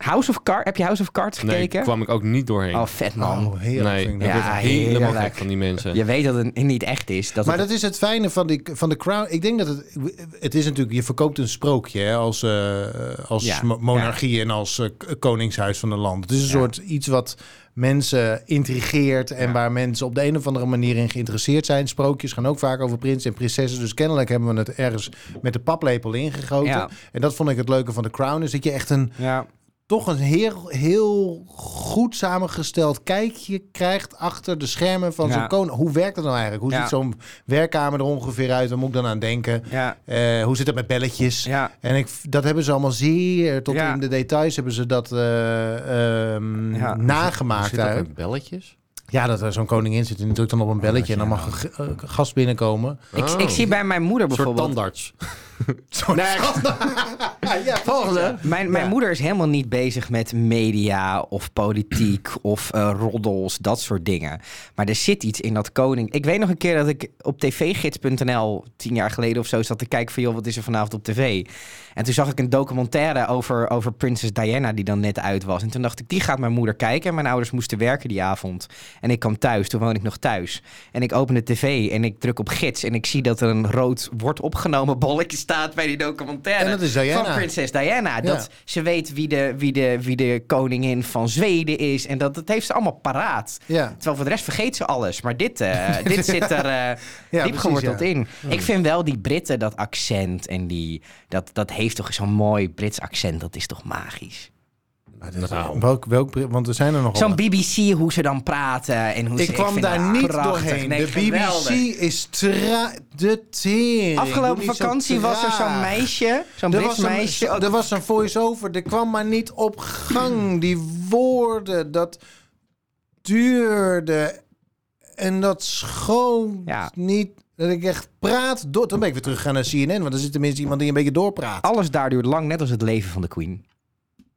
S3: House of Cards. Heb je House of Cards
S1: nee,
S3: gekeken?
S1: kwam ik ook niet doorheen.
S3: Oh, vet man.
S2: Oh, heerlijk.
S1: nee,
S2: vind ik
S1: ik
S2: dat.
S3: Ja,
S1: word helemaal
S3: heerlijk.
S1: gek van die mensen.
S3: Je weet dat het niet echt is. Dat
S2: Maar
S3: het-
S2: dat is het fijne van, die, van de Crown. Ik denk dat het... Het is natuurlijk... Je verkoopt een sprookje hè, als, eh, als
S3: Ja,
S2: mo- monarchie en als eh, k- koningshuis van een land. Het is een
S3: Ja.
S2: soort iets wat mensen intrigeert... en
S3: Ja.
S2: waar mensen op de een of andere manier in geïnteresseerd zijn. Sprookjes gaan ook vaak over prinsen en prinsessen. Dus kennelijk hebben we het ergens met de paplepel ingegoten.
S3: Ja.
S2: En dat vond ik het leuke van de Crown. Is dat je echt een...
S3: Ja.
S2: toch een heel, heel goed samengesteld kijkje krijgt achter de schermen van
S3: Ja.
S2: zo'n koning. Hoe werkt dat nou eigenlijk? Hoe
S3: Ja.
S2: ziet zo'n werkkamer er ongeveer uit? Waar moet ik dan aan denken?
S3: Ja.
S2: Eh, hoe zit het met belletjes?
S3: Ja.
S2: En ik, dat hebben ze allemaal zeer, tot
S3: Ja.
S2: in de details hebben ze dat eh, ehm,
S3: Ja.
S2: nagemaakt. eigenlijk.
S1: belletjes?
S2: Ja, dat er zo'n koningin zit en die drukt dan op
S3: Oh,
S2: een belletje en dan mag een ge- eh, gast binnenkomen.
S3: Ik, ik zie bij mijn moeder
S1: een soort *laughs*
S3: bijvoorbeeld...
S1: tandarts. *laughs*
S2: ja, volgende.
S3: Mijn, mijn
S2: Ja.
S3: moeder is helemaal niet bezig met media of politiek of eh, roddels, dat soort dingen. Maar er zit iets in dat koning. Ik weet nog een keer dat ik op tvgids.nl tien jaar geleden of zo zat te kijken van joh, wat is er vanavond op tv? En toen zag ik een documentaire over, over prinses Diana die dan net uit was. En toen dacht ik, die gaat mijn moeder kijken. En Mijn ouders moesten werken die avond. En ik kwam thuis, toen woon ik nog thuis. En ik open de tv en ik druk op gids en ik zie dat er een rood wordt opgenomen bolletje staat bij die documentaire.
S2: En dat is Diana.
S3: Van prinses Diana. Dat ze weet wie de, wie, de, wie de koningin van Zweden is. En dat, dat heeft ze allemaal paraat.
S2: Ja.
S3: Terwijl voor de rest vergeet ze alles. Maar dit, eh,
S2: *laughs*
S3: dit zit er eh diep
S2: precies,
S3: geworteld
S2: ja.
S3: in. Ik vind wel die Britten, dat accent en die... Dat, dat heeft toch zo'n mooi Brits accent. Dat is toch magisch.
S1: Nou,
S2: Welk, welk, want er zijn er nogal.
S3: Zo'n
S2: Oh, wat.
S3: BBC, hoe ze dan praten en hoe ze...
S2: Ik kwam
S3: vind
S2: daar
S3: dat
S2: niet
S3: prachtig.
S2: doorheen.
S3: Nee,
S2: de
S3: geweldig.
S2: BBC is tra- de tering. Doe
S3: Afgelopen
S2: niet zo
S3: vakantie was er zo'n
S2: traag.
S3: meisje, zo'n
S2: Er
S3: Brits
S2: was, een,
S3: meisje. Oh, ook-
S2: er was een voice-over, er kwam maar niet op
S3: *clears throat*
S2: gang. Die woorden, dat duurde en dat schoon
S3: Ja.
S2: niet. Dat ik echt praat door. Dan ben ik weer teruggegaan naar CNN, want er zit tenminste iemand die een beetje doorpraat.
S3: Alles daar duurt lang, net als het leven van de Queen.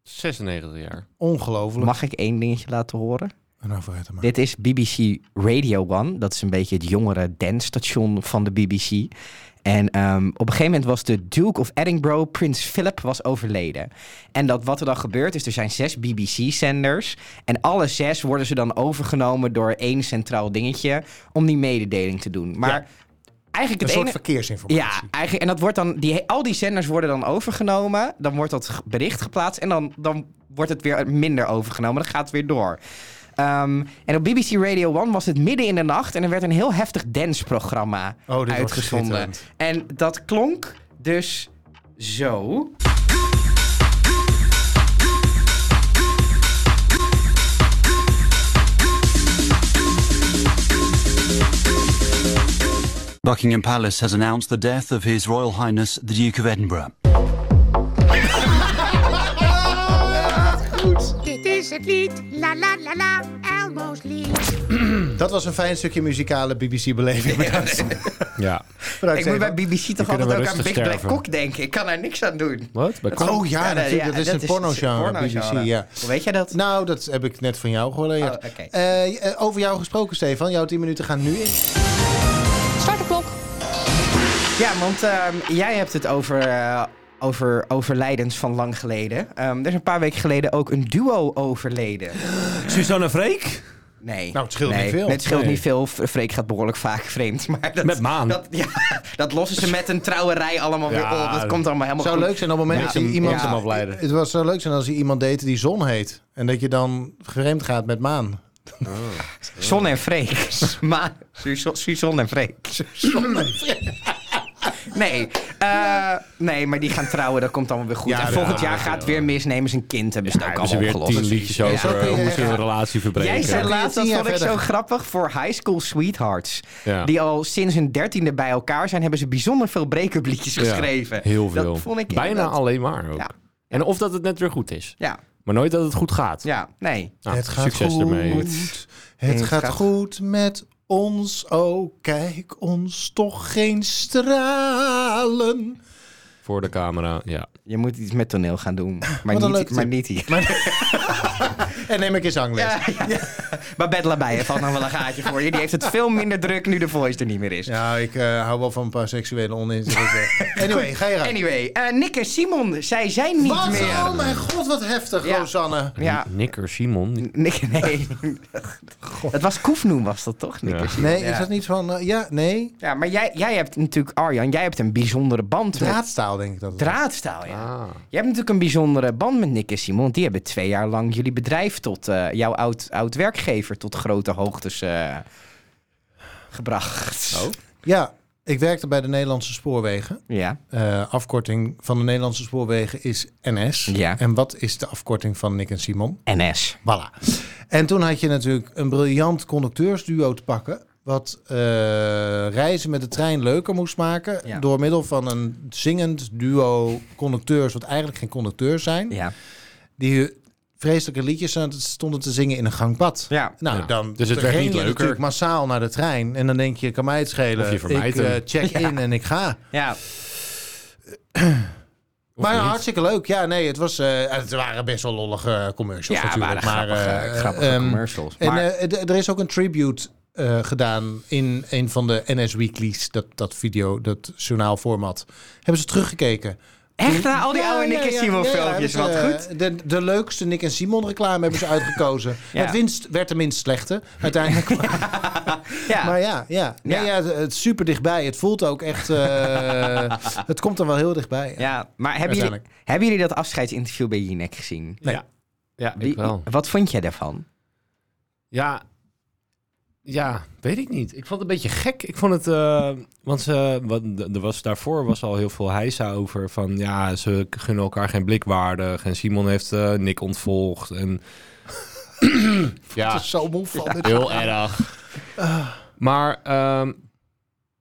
S1: 96 jaar.
S2: Ongelooflijk.
S3: Mag ik één dingetje laten horen?
S2: Nou, vooruit dan maar.
S3: Dit is BBC Radio One. Dat is een beetje het jongere dancestation van de BBC. En ehm, op een gegeven moment was de Duke of Edinburgh, Prins Philip, was overleden. En dat, wat er dan gebeurt is, er zijn zes BBC-zenders. En alle zes worden ze dan overgenomen door één centraal dingetje om die mededeling te doen. Maar eigenlijk
S2: Een
S3: het
S2: soort
S3: enige...
S2: verkeersinformatie.
S3: Ja, eigenlijk. En dat wordt dan, die, al die zenders worden dan overgenomen. Dan wordt dat ge- bericht geplaatst. En dan, dan wordt het weer minder overgenomen. Dat gaat weer door. Ehm, en op BBC Radio 1 was het midden in de nacht en er werd een heel heftig
S1: Oh,
S3: danceprogramma
S2: dit wordt
S3: uitgezonden.
S2: schitterend.
S3: En dat klonk dus zo.
S5: Buckingham Palace has announced the death of His Royal Highness the Duke of Edinburgh.
S4: Dit is het lied. La la la la, Elmo's lied.
S2: Dat was een fijn stukje muzikale BBC-beleving.
S3: *laughs*
S1: Ja.
S3: Ik moet bij BBC toch
S1: kunnen we
S3: altijd ook aan Big
S1: rustig
S3: Black
S1: sterven.
S3: Cook denken. Ik kan daar niks aan doen.
S1: Wat? Bij Cook?
S2: Oh ja, natuurlijk. dat is een porno-genre,
S3: porno-genre.
S2: BBC, ja.
S3: Hoe weet jij dat?
S2: Nou, dat heb ik net van jou gehoord.
S3: Oh, oké.
S2: Eh, eh, over jou gesproken, Stefan. Jouw 10 minuten gaan nu in.
S6: Start de klok.
S3: Ja, want ehm, jij hebt het over, eh, over overlijdens van lang geleden. Ehm, er is een paar weken geleden ook een duo overleden.
S1: Susanne Freek?
S3: Nee.
S2: Nou, het scheelt
S3: nee.
S2: niet veel.
S3: Nee, Het scheelt
S1: Nee.
S3: niet veel. V- Freek gaat behoorlijk vaak vreemd. Maar dat,
S1: Met Maan.
S3: Dat, ja, dat lossen ze met een trouwerij allemaal weer
S1: Ja,
S3: op. Dat komt allemaal helemaal
S2: zou
S3: goed.
S2: leuk zijn op het moment dat je
S1: hem-
S2: iemand...
S1: moet hem afleiden.
S2: Het was, zou leuk zijn als je iemand date die Zon heet. En dat je dan vreemd gaat met Maan.
S3: Son en Freek. *laughs* Maar Su- Suzanne en Freek. *laughs* Nee, eh, nee, maar die gaan trouwen, dat komt allemaal weer goed.
S2: Ja,
S3: en
S2: ja,
S3: volgend
S1: ja,
S3: jaar gaat het weer mis, nemen ze een kind, hebben ze het ook
S1: Hebben ze
S3: allemaal
S1: weer
S3: opgelost.
S1: tien liedjes
S3: Ja.
S1: over eh, hoe
S2: Ja.
S1: ze hun relatie verbreken.
S3: Jij zei
S2: Ja.
S3: laatst, dat
S2: Tien jaar
S3: vond ik zo
S2: verder.
S3: grappig, voor high school sweethearts.
S1: Ja.
S3: Die al sinds hun dertiende bij elkaar zijn, hebben ze bijzonder veel break-up liedjes
S1: Ja,
S3: geschreven.
S1: Heel veel.
S3: Dat vond ik
S1: Bijna
S3: inderdaad-
S1: alleen maar ook.
S3: Ja.
S1: En of dat het net weer goed is.
S3: Ja,
S1: Maar nooit dat het goed gaat.
S3: ja, nee.
S1: Nou,
S2: het gaat
S1: succes
S2: goed.
S1: ermee.
S2: Het, gaat, goed met ons. Oh, kijk ons toch geen stralen.
S1: Voor de camera. Ja.
S3: Je moet iets met toneel gaan doen, maar,
S2: een
S3: niet,
S2: leuke
S3: maar
S2: tip.
S3: niet hier.
S2: En neem ik eens zangles.
S3: *laughs* Ja, ja. Maar Bed Labai heeft al nog wel een gaatje voor je. Die heeft het veel minder druk nu de voice er niet meer is.
S2: Nou, ik eh, hou wel van een paar seksuele oninzichten. anyway, ga je raak.
S3: Anyway, eh, Nick en Simon, zij zijn niet
S2: Wat?
S3: meer.
S2: Oh mijn god, wat heftig,
S3: Ja.
S2: Rosanne.
S3: Ja,
S1: Nikker Simon. die-
S3: Nick, *laughs* nee. Dat was Koefnoem, was dat toch? Nick
S1: Ja.
S3: en Simon?
S2: Nee,
S3: ja.
S2: is dat niet van... eh, ja, nee.
S3: Ja, maar jij, jij hebt natuurlijk, Arjan, jij hebt een bijzondere band met
S2: Draadstaal denk ik dat. het is.
S3: draadstaal. Ja.
S1: Ah.
S3: Je hebt natuurlijk een bijzondere band met Nick en Simon. want Die hebben twee jaar lang jullie bedrijf tot eh, jouw oud, oud werkgever tot grote hoogtes eh, gebracht.
S1: Oh.
S2: Ja, ik werkte bij de Nederlandse Spoorwegen.
S3: Ja.
S2: Eh, afkorting van de Nederlandse Spoorwegen is NS.
S3: Ja.
S2: En wat is de afkorting van Nick en Simon?
S3: NS.
S2: Voilà. En toen had je natuurlijk een briljant conducteursduo te pakken. Wat eh, reizen met de trein leuker moest maken.
S3: Ja.
S2: Door middel van een zingend duo conducteurs, wat eigenlijk geen conducteurs zijn.
S3: Ja.
S2: Die vreselijke liedjes aan het- stonden te zingen in een gangpad.
S3: Ja.
S2: Nou,
S1: Ja.
S2: dan
S1: Dus het werd
S2: ren
S1: niet
S2: je
S1: leuker.
S2: natuurlijk massaal naar de trein. En dan denk je, kan mij het schelen.
S1: Of je vermijdt
S2: ik eh,
S1: hem.
S3: *laughs*
S2: check in en ik ga.
S3: Ja.
S1: Of
S2: maar
S1: niet.
S2: hartstikke leuk. Ja, nee, het, was, eh, het waren best wel lollige commercials
S3: Ja,
S2: natuurlijk.
S3: waren grappige-
S2: eh,
S3: grappige
S2: ehm,
S3: commercials.
S2: En
S3: Maar-
S2: eh, d- er is ook een tribute eh, gedaan in een van de NS Weeklies. Dat, dat video, dat journaalformat. Hebben ze teruggekeken.
S3: Echt na al die
S2: Ja,
S3: oude
S2: ja,
S3: Nick en
S2: ja,
S3: Simon
S2: ja, ja,
S3: filmpjes,
S2: hebben
S3: wat
S2: ze,
S3: goed.
S2: eh, De, de leukste Nick en Simon reclame hebben
S3: *laughs*
S2: ze uitgekozen.
S3: Ja.
S2: Het winst werd de minst slechte, uiteindelijk.
S3: Ja.
S2: eh, Maar ja, ja. Nee,
S3: Ja.
S2: ja. het, het is super dichtbij. Het voelt ook echt... *laughs* eh, het komt er wel heel dichtbij.
S3: Ja, maar hebben jullie,
S2: Uiteindelijk.
S3: hebben jullie dat afscheidsinterview bij Jinek gezien?
S2: Nee.
S1: Ja. Ja, ik
S3: Wie-
S1: wel.
S3: Wat vond jij daarvan?
S1: Ja. Ja, weet ik niet. Ik vond het een beetje gek. Ik vond het, eh, want ze, wat, er was, daarvoor was al heel veel heisa over van, ja, ze gunnen elkaar geen blikwaardig. En Simon heeft eh, Nick ontvolgd. En... *clears throat* ja,
S2: Het is zo moe van. dit.
S1: heel erg. Maar, ehm,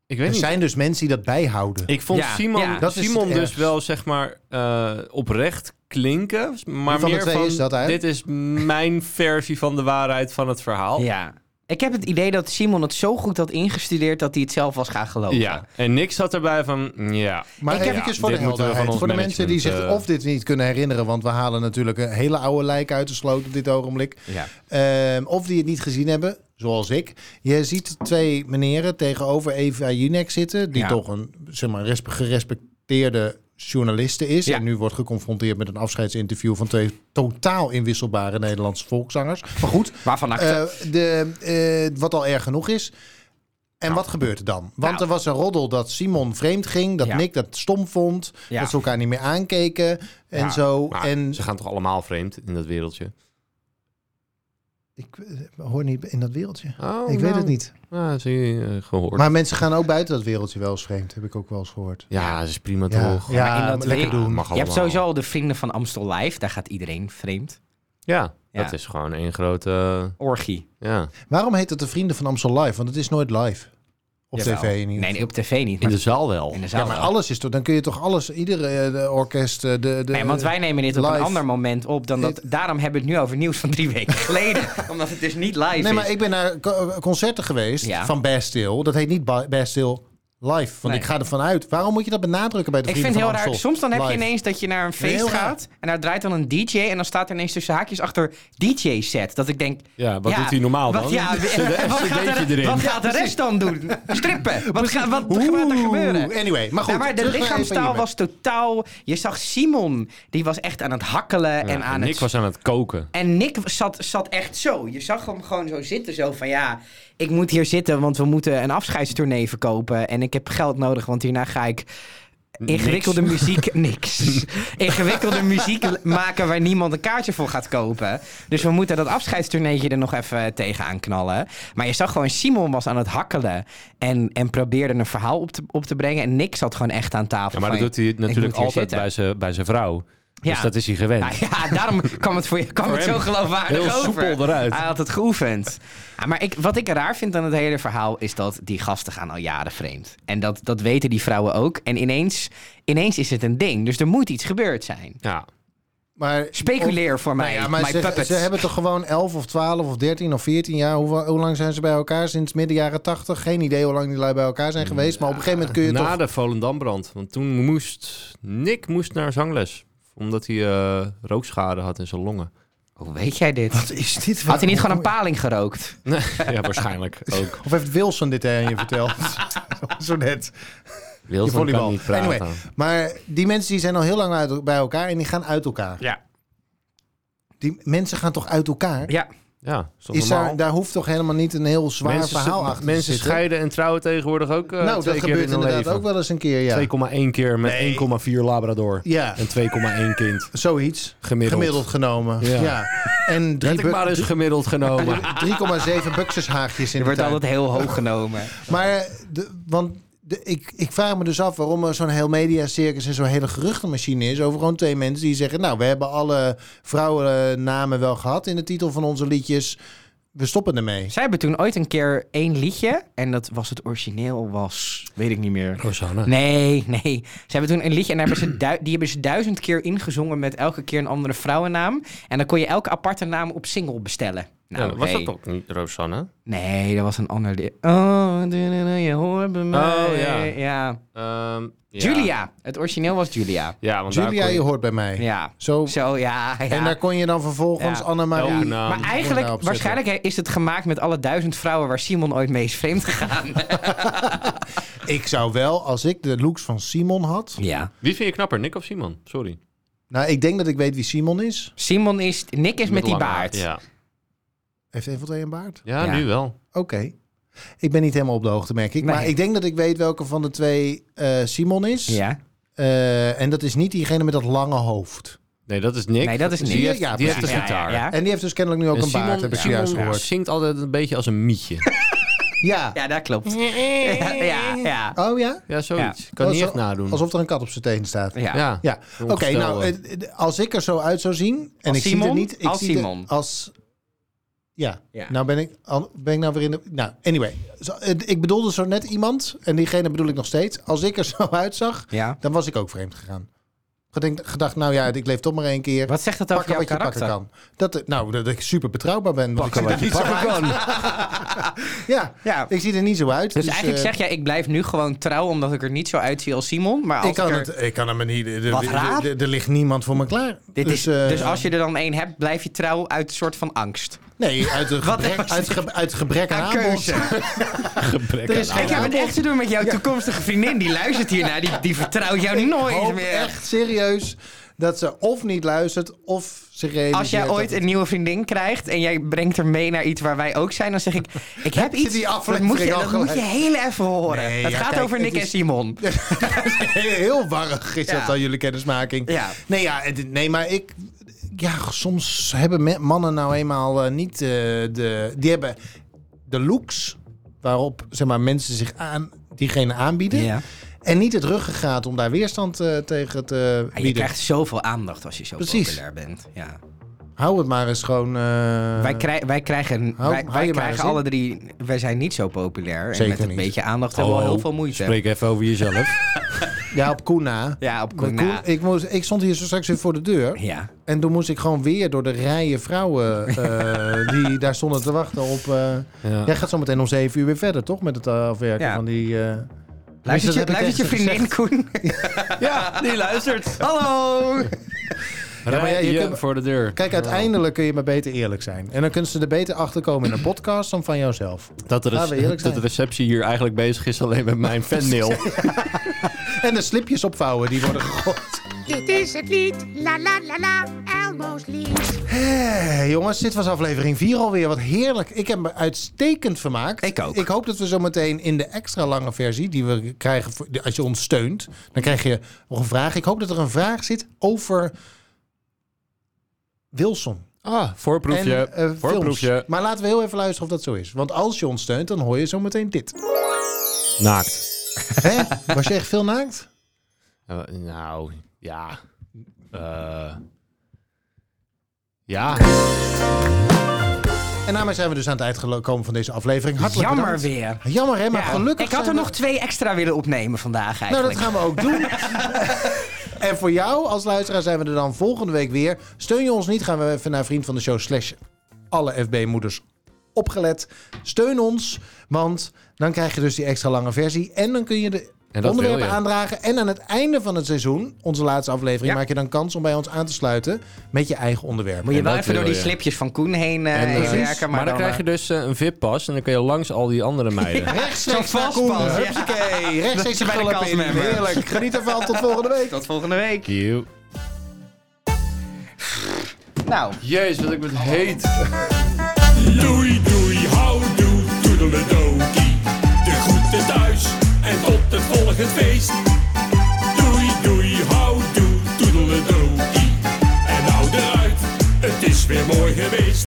S1: ik weet
S2: Er
S1: niet.
S2: zijn dus mensen die dat bijhouden.
S1: Ik vond
S3: Ja,
S1: Simon,
S3: ja.
S2: Dat is
S1: Simon
S2: het
S1: dus
S2: ergst.
S1: wel zeg maar eh, oprecht klinken. Maar
S2: Wie van de
S1: meer
S2: twee
S1: van,
S2: is dat, hè?
S1: dit is
S2: *laughs*
S1: mijn versie van de waarheid van het verhaal.
S3: Ja. Ik heb het idee dat Simon het zo goed had ingestudeerd dat hij het zelf was gaan geloven.
S1: Ja, en niks zat erbij van, ja.
S2: Maar
S1: Ik
S2: even
S1: heb-
S2: voor de
S1: dit moeten we van
S2: helderheid.
S1: ons
S2: Voor de mensen die zich
S1: management, eh,
S2: of dit niet kunnen herinneren... want we halen natuurlijk een hele oude lijk uit de sloot op dit ogenblik.
S3: Ja.
S2: Ehm, of die het niet gezien hebben, zoals ik. Je ziet twee meneren tegenover Eva Jinek zitten... die
S3: Ja.
S2: toch een zeg maar, respe- gerespecteerde journaliste is...
S3: Ja.
S2: en nu wordt geconfronteerd met een afscheidsinterview... van twee totaal inwisselbare Eh, Nederlandse volkszangers. Maar goed,
S3: Waarvan ik
S2: eh, de, eh, wat al erg genoeg is. En
S3: Nou.
S2: wat gebeurt er dan? Want er was een roddel dat Simon vreemd ging, dat
S3: Ja.
S2: Nick dat stom vond,
S3: Ja.
S2: dat ze elkaar niet meer aankeken en
S3: Ja,
S2: zo.
S1: Maar
S2: En
S1: ze gaan toch allemaal vreemd in dat wereldje?
S2: ik eh, hoor niet in dat wereldje.
S1: Oh,
S2: ik weet
S1: nou,
S2: het niet.
S1: Nou, zie je eh, gehoord.
S2: Maar mensen gaan ook buiten dat wereldje wel eens vreemd, heb ik ook wel eens gehoord.
S1: ja, dat is prima
S2: Ja,
S1: toch?
S2: ja,
S3: in dat
S2: maar lekker
S3: we-
S2: doen.
S1: Mag
S3: Je hebt
S1: allemaal.
S3: sowieso al de vrienden van Amstel Live. Daar gaat iedereen vreemd.
S1: Ja,
S3: Ja.
S1: dat is gewoon één grote...
S3: Orgie.
S1: Ja.
S2: Waarom heet het de Vrienden van Amstel Live? Want het is nooit live. Op
S3: Jawel.
S2: tv in ieder geval.
S3: Nee, op tv niet.
S1: In
S3: Maar
S1: de zaal wel.
S3: in de zaal
S2: Ja, maar
S3: wel.
S2: alles is toch... Dan kun je toch alles, iedere eh, de orkest, eh, de, de...
S3: Nee, want wij nemen dit op een
S2: live.
S3: ander moment op dan dat. Daarom hebben we het nu over nieuws van drie
S2: *laughs*
S3: weken geleden. omdat het dus niet live
S2: Nee,
S3: is.
S2: maar ik ben naar co- eh, concerten geweest
S3: Ja.
S2: van Bastille. Dat heet niet Ba- Bastille Live, want
S3: Nee.
S2: ik ga ervan uit. Waarom moet je dat benadrukken bij de
S3: Ik vind
S2: Vrienden
S3: het heel
S2: van
S3: raar.
S2: Amstel
S3: Soms dan heb je
S2: Live?
S3: ineens dat je naar een feest
S2: Heel raar.
S3: gaat. En daar draait dan een DJ. En dan staat er ineens tussen haakjes achter DJ-set. Dat ik denk.
S1: Ja, wat doet hij normaal
S3: *laughs* wat-
S1: dan?
S2: *laughs*
S1: *laughs*
S3: Ja,
S1: Zet
S3: en
S1: een
S3: wat,
S1: SCD'tje
S3: gaat de,
S1: erin.
S3: wat gaat de rest dan doen? Strippen. Wat, ga- wat gaat er
S2: Oeh,
S3: gebeuren?
S2: Anyway, maar goed.
S3: Ja, maar de
S2: terug naar
S3: lichaamstaal
S2: even
S3: was totaal. Je zag Simon, die was echt aan het hakkelen
S1: Ja,
S3: en
S1: en
S3: aan
S1: Nick
S3: het.
S1: was aan het koken.
S3: En Nick zat, zat echt zo. Je zag hem gewoon zo zitten. Zo van ja, ik moet hier zitten, want we moeten een afscheidstournee verkopen. En ik heb geld nodig, want hierna ga ik ingewikkelde
S1: *laughs*
S3: muziek... Niks. ingewikkelde muziek l- maken waar niemand een kaartje voor gaat kopen. Dus we moeten dat afscheidstourneetje er nog even tegenaan knallen. Maar je zag gewoon, Simon was aan het hakkelen. En, en probeerde een verhaal op te, op te brengen. En Nick zat gewoon echt aan
S1: Ja,
S3: tafel.
S1: maar
S3: van,
S1: dat doet hij
S3: moet
S1: natuurlijk
S3: hier
S1: altijd
S3: zitten.
S1: bij zijn, bij zijn vrouw.
S3: Ja.
S1: Dus dat is hij gewend.
S3: Nou ja, daarom kwam het, voor je, kwam
S1: Voor
S3: het
S1: hem
S3: zo geloofwaardig
S1: heel
S3: over.
S1: soepel eruit.
S3: Hij had het geoefend. Ja, maar ik, wat ik raar vind aan het hele verhaal is dat die gasten gaan al jaren vreemd. En dat, dat weten die vrouwen ook. En ineens, ineens is het een ding. Dus er moet iets gebeurd zijn.
S1: Ja.
S2: Maar
S3: Speculeer voor mij,
S2: nou ja,
S3: my
S2: maar ze,
S3: puppets.
S2: ze hebben toch gewoon 11 of 12 of 13 of 14 jaar. Hoe, hoe lang zijn ze bij elkaar? Sinds midden jaren 80. Geen idee hoe lang die lui bij elkaar zijn geweest. Maar op een gegeven moment kun je
S1: Na
S2: toch.
S1: de Volendambrand. Want toen moest Nick moest naar zangles. Omdat hij eh, rookschade had in zijn
S2: *laughs*
S1: longen.
S3: Hoe weet jij dit?
S2: Wat is dit?
S3: Had hij niet gewoon een paling gerookt?
S1: ja, *laughs* waarschijnlijk ook.
S2: Of heeft Wilson dit aan je
S3: *laughs*
S2: verteld? *laughs* Zo net. Die
S1: Wilson
S2: volleybal.
S1: kan niet praten.
S2: Anyway. Maar die mensen die zijn al heel lang uit- bij elkaar en die gaan uit elkaar.
S3: Ja.
S2: Die mensen gaan toch uit elkaar?
S3: Ja.
S1: Ja, is dat
S2: Is daar,
S1: normaal?
S2: daar hoeft toch helemaal niet een heel zwaar
S1: mensen
S2: verhaal
S1: se-
S2: achter te
S1: Mensen
S2: zitten?
S1: scheiden en trouwen tegenwoordig ook eh,
S2: Nou,
S1: twee keer
S2: dat gebeurt
S1: in hun
S2: inderdaad
S1: leven.
S2: ook wel eens een keer, ja.
S1: 2,1 keer met 1,4 Labrador.
S2: Ja,
S1: En 2,1 kind
S2: zoiets.
S1: gemiddeld.
S2: Gemiddeld genomen. Ja.
S1: Ja.
S2: En
S1: Dat
S2: drie
S1: ik maar
S2: bu-
S1: eens gemiddeld genomen.
S2: 3,7 buxushaagjes in
S3: Je
S2: de
S3: wordt
S2: tuin.
S3: altijd heel hoog genomen.
S2: Maar eh, de, want de- ik, ik vraag me dus af waarom er zo'n heel mediacircus en zo'n hele geruchtenmachine is over gewoon twee mensen die zeggen: Nou, we hebben alle vrouwennamen wel gehad in de titel van onze liedjes. We stoppen ermee.
S3: Zij hebben toen ooit een keer één liedje. En dat was het origineel was... Weet ik niet meer.
S1: Rosanne.
S3: *laughs* Nee, nee. Ze hebben toen een liedje en daar hebben ze du- die hebben ze duizend keer ingezongen met elke keer een andere vrouwennaam. En dan kon je elke aparte naam op single bestellen. Nou,
S1: Oh, was
S3: nee.
S1: dat ook niet Rosanne?
S3: Nee, dat was een ander lied. Oh, du- du- du- je hoort bij mij.
S1: Oh, ja.
S3: Ja.
S1: Ehm, ja.
S3: Julia. Het origineel was Julia.
S1: Ja, want
S2: Julia,
S1: daar
S2: je
S1: kon
S2: hoort bij mij.
S3: Ja.
S2: Zo,
S3: Zo, ja. ja.
S2: En daar kon je dan vervolgens
S3: Ja.
S2: Annemarie.
S1: Elke naam.
S3: maar
S2: Moet nou
S3: eigenlijk,
S2: opzetten.
S3: waarschijnlijk he- is het gemaakt met alle duizend vrouwen waar Simon ooit mee is vreemd gegaan.
S2: Ik zou wel, als ik de looks van Simon had.
S3: ja.
S1: Wie vind je knapper, Nick of Simon? Sorry.
S2: Nou, ik denk dat ik weet wie Simon is.
S3: Simon is, Nick is met, die
S1: lange haar.
S3: baard.
S1: Ja.
S2: Heeft een van twee een baard?
S1: Ja,
S3: Ja.
S1: nu wel.
S2: Oké. Ik ben niet helemaal op de hoogte, merk ik.
S3: Nee.
S2: Maar ik denk dat ik weet welke van de twee eh, Simon is.
S3: Ja.
S2: Eh, en dat is niet diegene met dat lange hoofd.
S1: Nee, dat is Nick.
S3: Nee, dat is Nick.
S1: Die heeft,
S2: Ja,
S1: die heeft
S2: precies.
S1: de gitaar.
S3: Ja, Eh, ja, ja.
S2: En die heeft dus kennelijk nu ook
S1: En
S2: een
S1: Simon,
S2: baard, heb ik
S1: Simon
S2: zojuist gehoord.
S1: zingt altijd een beetje als een mietje.
S2: Ja.
S3: ja, dat klopt. Ja, ja. ja.
S2: Oh ja?
S1: Ja, zoiets.
S3: Ja.
S1: Kan niet
S2: Alsof-
S1: echt nadoen.
S2: Alsof er een kat op zijn teen staat.
S3: Ja.
S1: Ja.
S2: Ja. Oké, nou,
S1: Ongestelde.
S2: eh, eh, als ik er zo uit zou zien... En
S3: Als
S2: ik zie
S3: Simon?
S2: er niet... Ik
S3: Als
S2: zie er
S3: Simon.
S2: als... Ja.
S3: Ja.
S2: Nou ben ik, al- ben ik nou weer in de... Nou, anyway. Zo, eh, ik bedoelde zo net iemand. En diegene bedoel ik nog steeds. Als ik er zo *laughs* uitzag,
S3: Ja.
S2: dan was ik ook vreemd gegaan. Gedenkt, gedacht, nou ja, ik leef toch maar één keer.
S3: Wat zegt dat over
S2: pakken
S3: jouw
S2: wat je pakken
S3: karakter?
S2: kan. Dat, eh, nou, dat ik super betrouwbaar ben. want ik zie er niet zo uit. *laughs* Ja,
S3: Ja.
S2: ik zie er niet zo uit. eh,
S3: Dus eigenlijk zeg jij, ik blijf nu gewoon trouw omdat ik er niet zo uitzie als Simon. Maar als
S2: ik kan,
S3: er-
S2: het, ik kan hem niet. Er,
S3: Wat
S2: er-
S3: raar.
S2: er- er ligt niemand voor me klaar.
S3: dit
S2: dus,
S3: is,
S2: eh,
S3: dus als je er dan één hebt, blijf je trouw uit een soort van angst.
S2: Nee, uit, een
S3: *laughs* Wat
S2: gebrek,
S3: was
S2: uit, ge- uit gebrek aan
S3: Aan
S2: aanbod. Dus
S3: keuze. *laughs*
S1: Gebrek
S2: Er is
S1: aan
S2: geen-
S3: Ik heb het echt te doen met jouw toekomstige vriendin. Die luistert hiernaar. Die, die vertrouwt jou
S2: Ik
S3: nooit
S2: hoop
S3: meer.
S2: echt serieus dat ze of niet luistert of ze realiseert...
S3: Als jij ooit
S2: dat-
S3: een nieuwe vriendin krijgt en jij brengt haar mee naar iets waar wij ook zijn, dan zeg ik: Ik heb
S2: je
S3: iets.
S2: die
S3: dat
S2: aflevering
S3: moet je,
S2: al
S3: dat moet je
S2: geluisterd?
S3: heel even horen.
S2: Nee,
S3: het
S2: ja,
S3: gaat
S2: kijk,
S3: over Nick
S2: het
S3: en
S2: is-
S3: Simon.
S2: Heel warrig is
S3: Ja.
S2: dat dan jullie kennismaking.
S3: Ja.
S2: Nee, ja, het- nee, maar ik... Ja, soms hebben me- mannen nou eenmaal eh, niet eh, de... Die hebben de looks waarop zeg maar, mensen zich aan, diegene aanbieden.
S3: Ja.
S2: En niet het ruggengraat om daar weerstand eh, tegen te
S3: Maar je
S2: bieden.
S3: krijgt zoveel aandacht als je zo
S2: Precies.
S3: populair bent. Ja.
S2: Hou het maar eens gewoon... eh, Oh,
S3: wij, krij- wij krijgen,
S2: hou-
S3: wij,
S2: hou
S3: wij
S2: je maar
S3: krijgen
S2: eens in.
S3: alle drie. Wij zijn niet zo populair.
S2: Zeker
S3: en met een
S2: niet. Oh,
S3: beetje aandacht hebben we al heel veel moeite.
S1: Spreek even over *laughs* jezelf.
S2: Ja, op Koena.
S3: Ja, op
S2: Maar
S3: Koena.
S2: Koen- ik, moest, ik stond hier zo straks weer voor de deur.
S3: Ja.
S2: En toen moest ik gewoon weer door de rijen vrouwen eh, die daar stonden te wachten op... eh,
S1: Ja.
S2: Jij gaat zo meteen om zeven uur weer verder, toch? Met het eh, afwerken
S3: Ja.
S2: van die... eh
S3: Luistert je,
S2: dat heb ik
S3: luistert je
S2: tegen ze
S3: vriendin,
S2: *laughs*
S3: Koen?
S1: ja, die luistert.
S3: Hallo!
S1: Ja, maar ja, je
S2: Rij je
S1: kunt- voor de deur.
S2: Kijk, uiteindelijk kun je maar beter eerlijk zijn. En dan kunnen ze er beter achter komen in een podcast dan van jouzelf.
S1: Dat de,
S2: Laten we
S1: rec-
S2: eerlijk
S1: dat
S2: zijn.
S1: de receptie hier eigenlijk bezig is alleen met
S2: *laughs*
S1: mijn fanmail.
S2: En de slipjes opvouwen, die worden gegooid.
S4: Dit is het lied, la la la la, Elmo's lied.
S2: Hé, Eh, jongens, dit was aflevering 4 alweer. Wat heerlijk. Ik heb me uitstekend vermaakt.
S3: Ik ook.
S2: Ik hoop dat we zo meteen in de extra lange versie die we krijgen... voor- als je ons steunt, dan krijg je nog een vraag. Ik hoop dat er een vraag zit over... Wilson.
S1: Ah, voorproefje.
S2: en, eh, films.
S1: voorproefje.
S2: Maar laten we heel even luisteren of dat zo is. Want als je ons steunt, dan hoor je zo meteen
S3: *laughs*
S2: dit.
S1: Naakt.
S2: Hè? Was je echt veel naakt?
S1: Eh, nou, ja. Eh, ja.
S2: En daarmee zijn we dus aan het eind gekomen van deze aflevering. Hartelijk
S3: Jammer
S2: bedankt.
S3: weer.
S2: Jammer hè, maar
S3: Ja,
S2: gelukkig
S3: Ik had er
S2: zijn we-
S3: nog twee extra willen opnemen vandaag
S2: Nou,
S3: eigenlijk.
S2: dat gaan we ook
S3: *laughs*
S2: doen. en voor jou als luisteraar zijn we er dan volgende week weer. Steun je ons niet, gaan we even naar Vriend van de Show slash alle FB-moeders opgelet. Steun ons, want dan krijg je dus die extra lange versie. En dan kun je de
S1: En dat
S2: onderwerpen
S1: wil je.
S2: aandragen. En aan het einde van het seizoen, onze laatste aflevering,
S3: Ja.
S2: maak je dan kans om bij ons aan te sluiten met je eigen onderwerp.
S3: Moet je
S1: En
S3: wel
S1: dat
S3: even door
S1: wil
S3: die
S1: je.
S3: slipjes van Koen heen, eh,
S1: En,
S3: heen
S1: eh,
S3: werken.
S1: maar, dan, krijg je dus eh, een VIP-pas en dan kun je langs al die andere meiden.
S2: *laughs* Rechtstreeks
S3: Zo'n
S2: naar Koen.
S3: vastpas, ja.
S2: Hupsakee. Rechtstreeks
S3: je bij de
S2: de gulp in.
S3: castmember.
S2: Heerlijk. Geniet ervan. Tot volgende week.
S3: eh, Tot volgende week.
S1: Cute.
S3: Nou.
S1: Jezus, wat ik met heet.
S7: Doei doei, houdoe, toedeledokie. De groeten thuis en tot het volgende feest. Doei doei, houdoe, toedeledokie. En nou eruit, het is weer mooi geweest.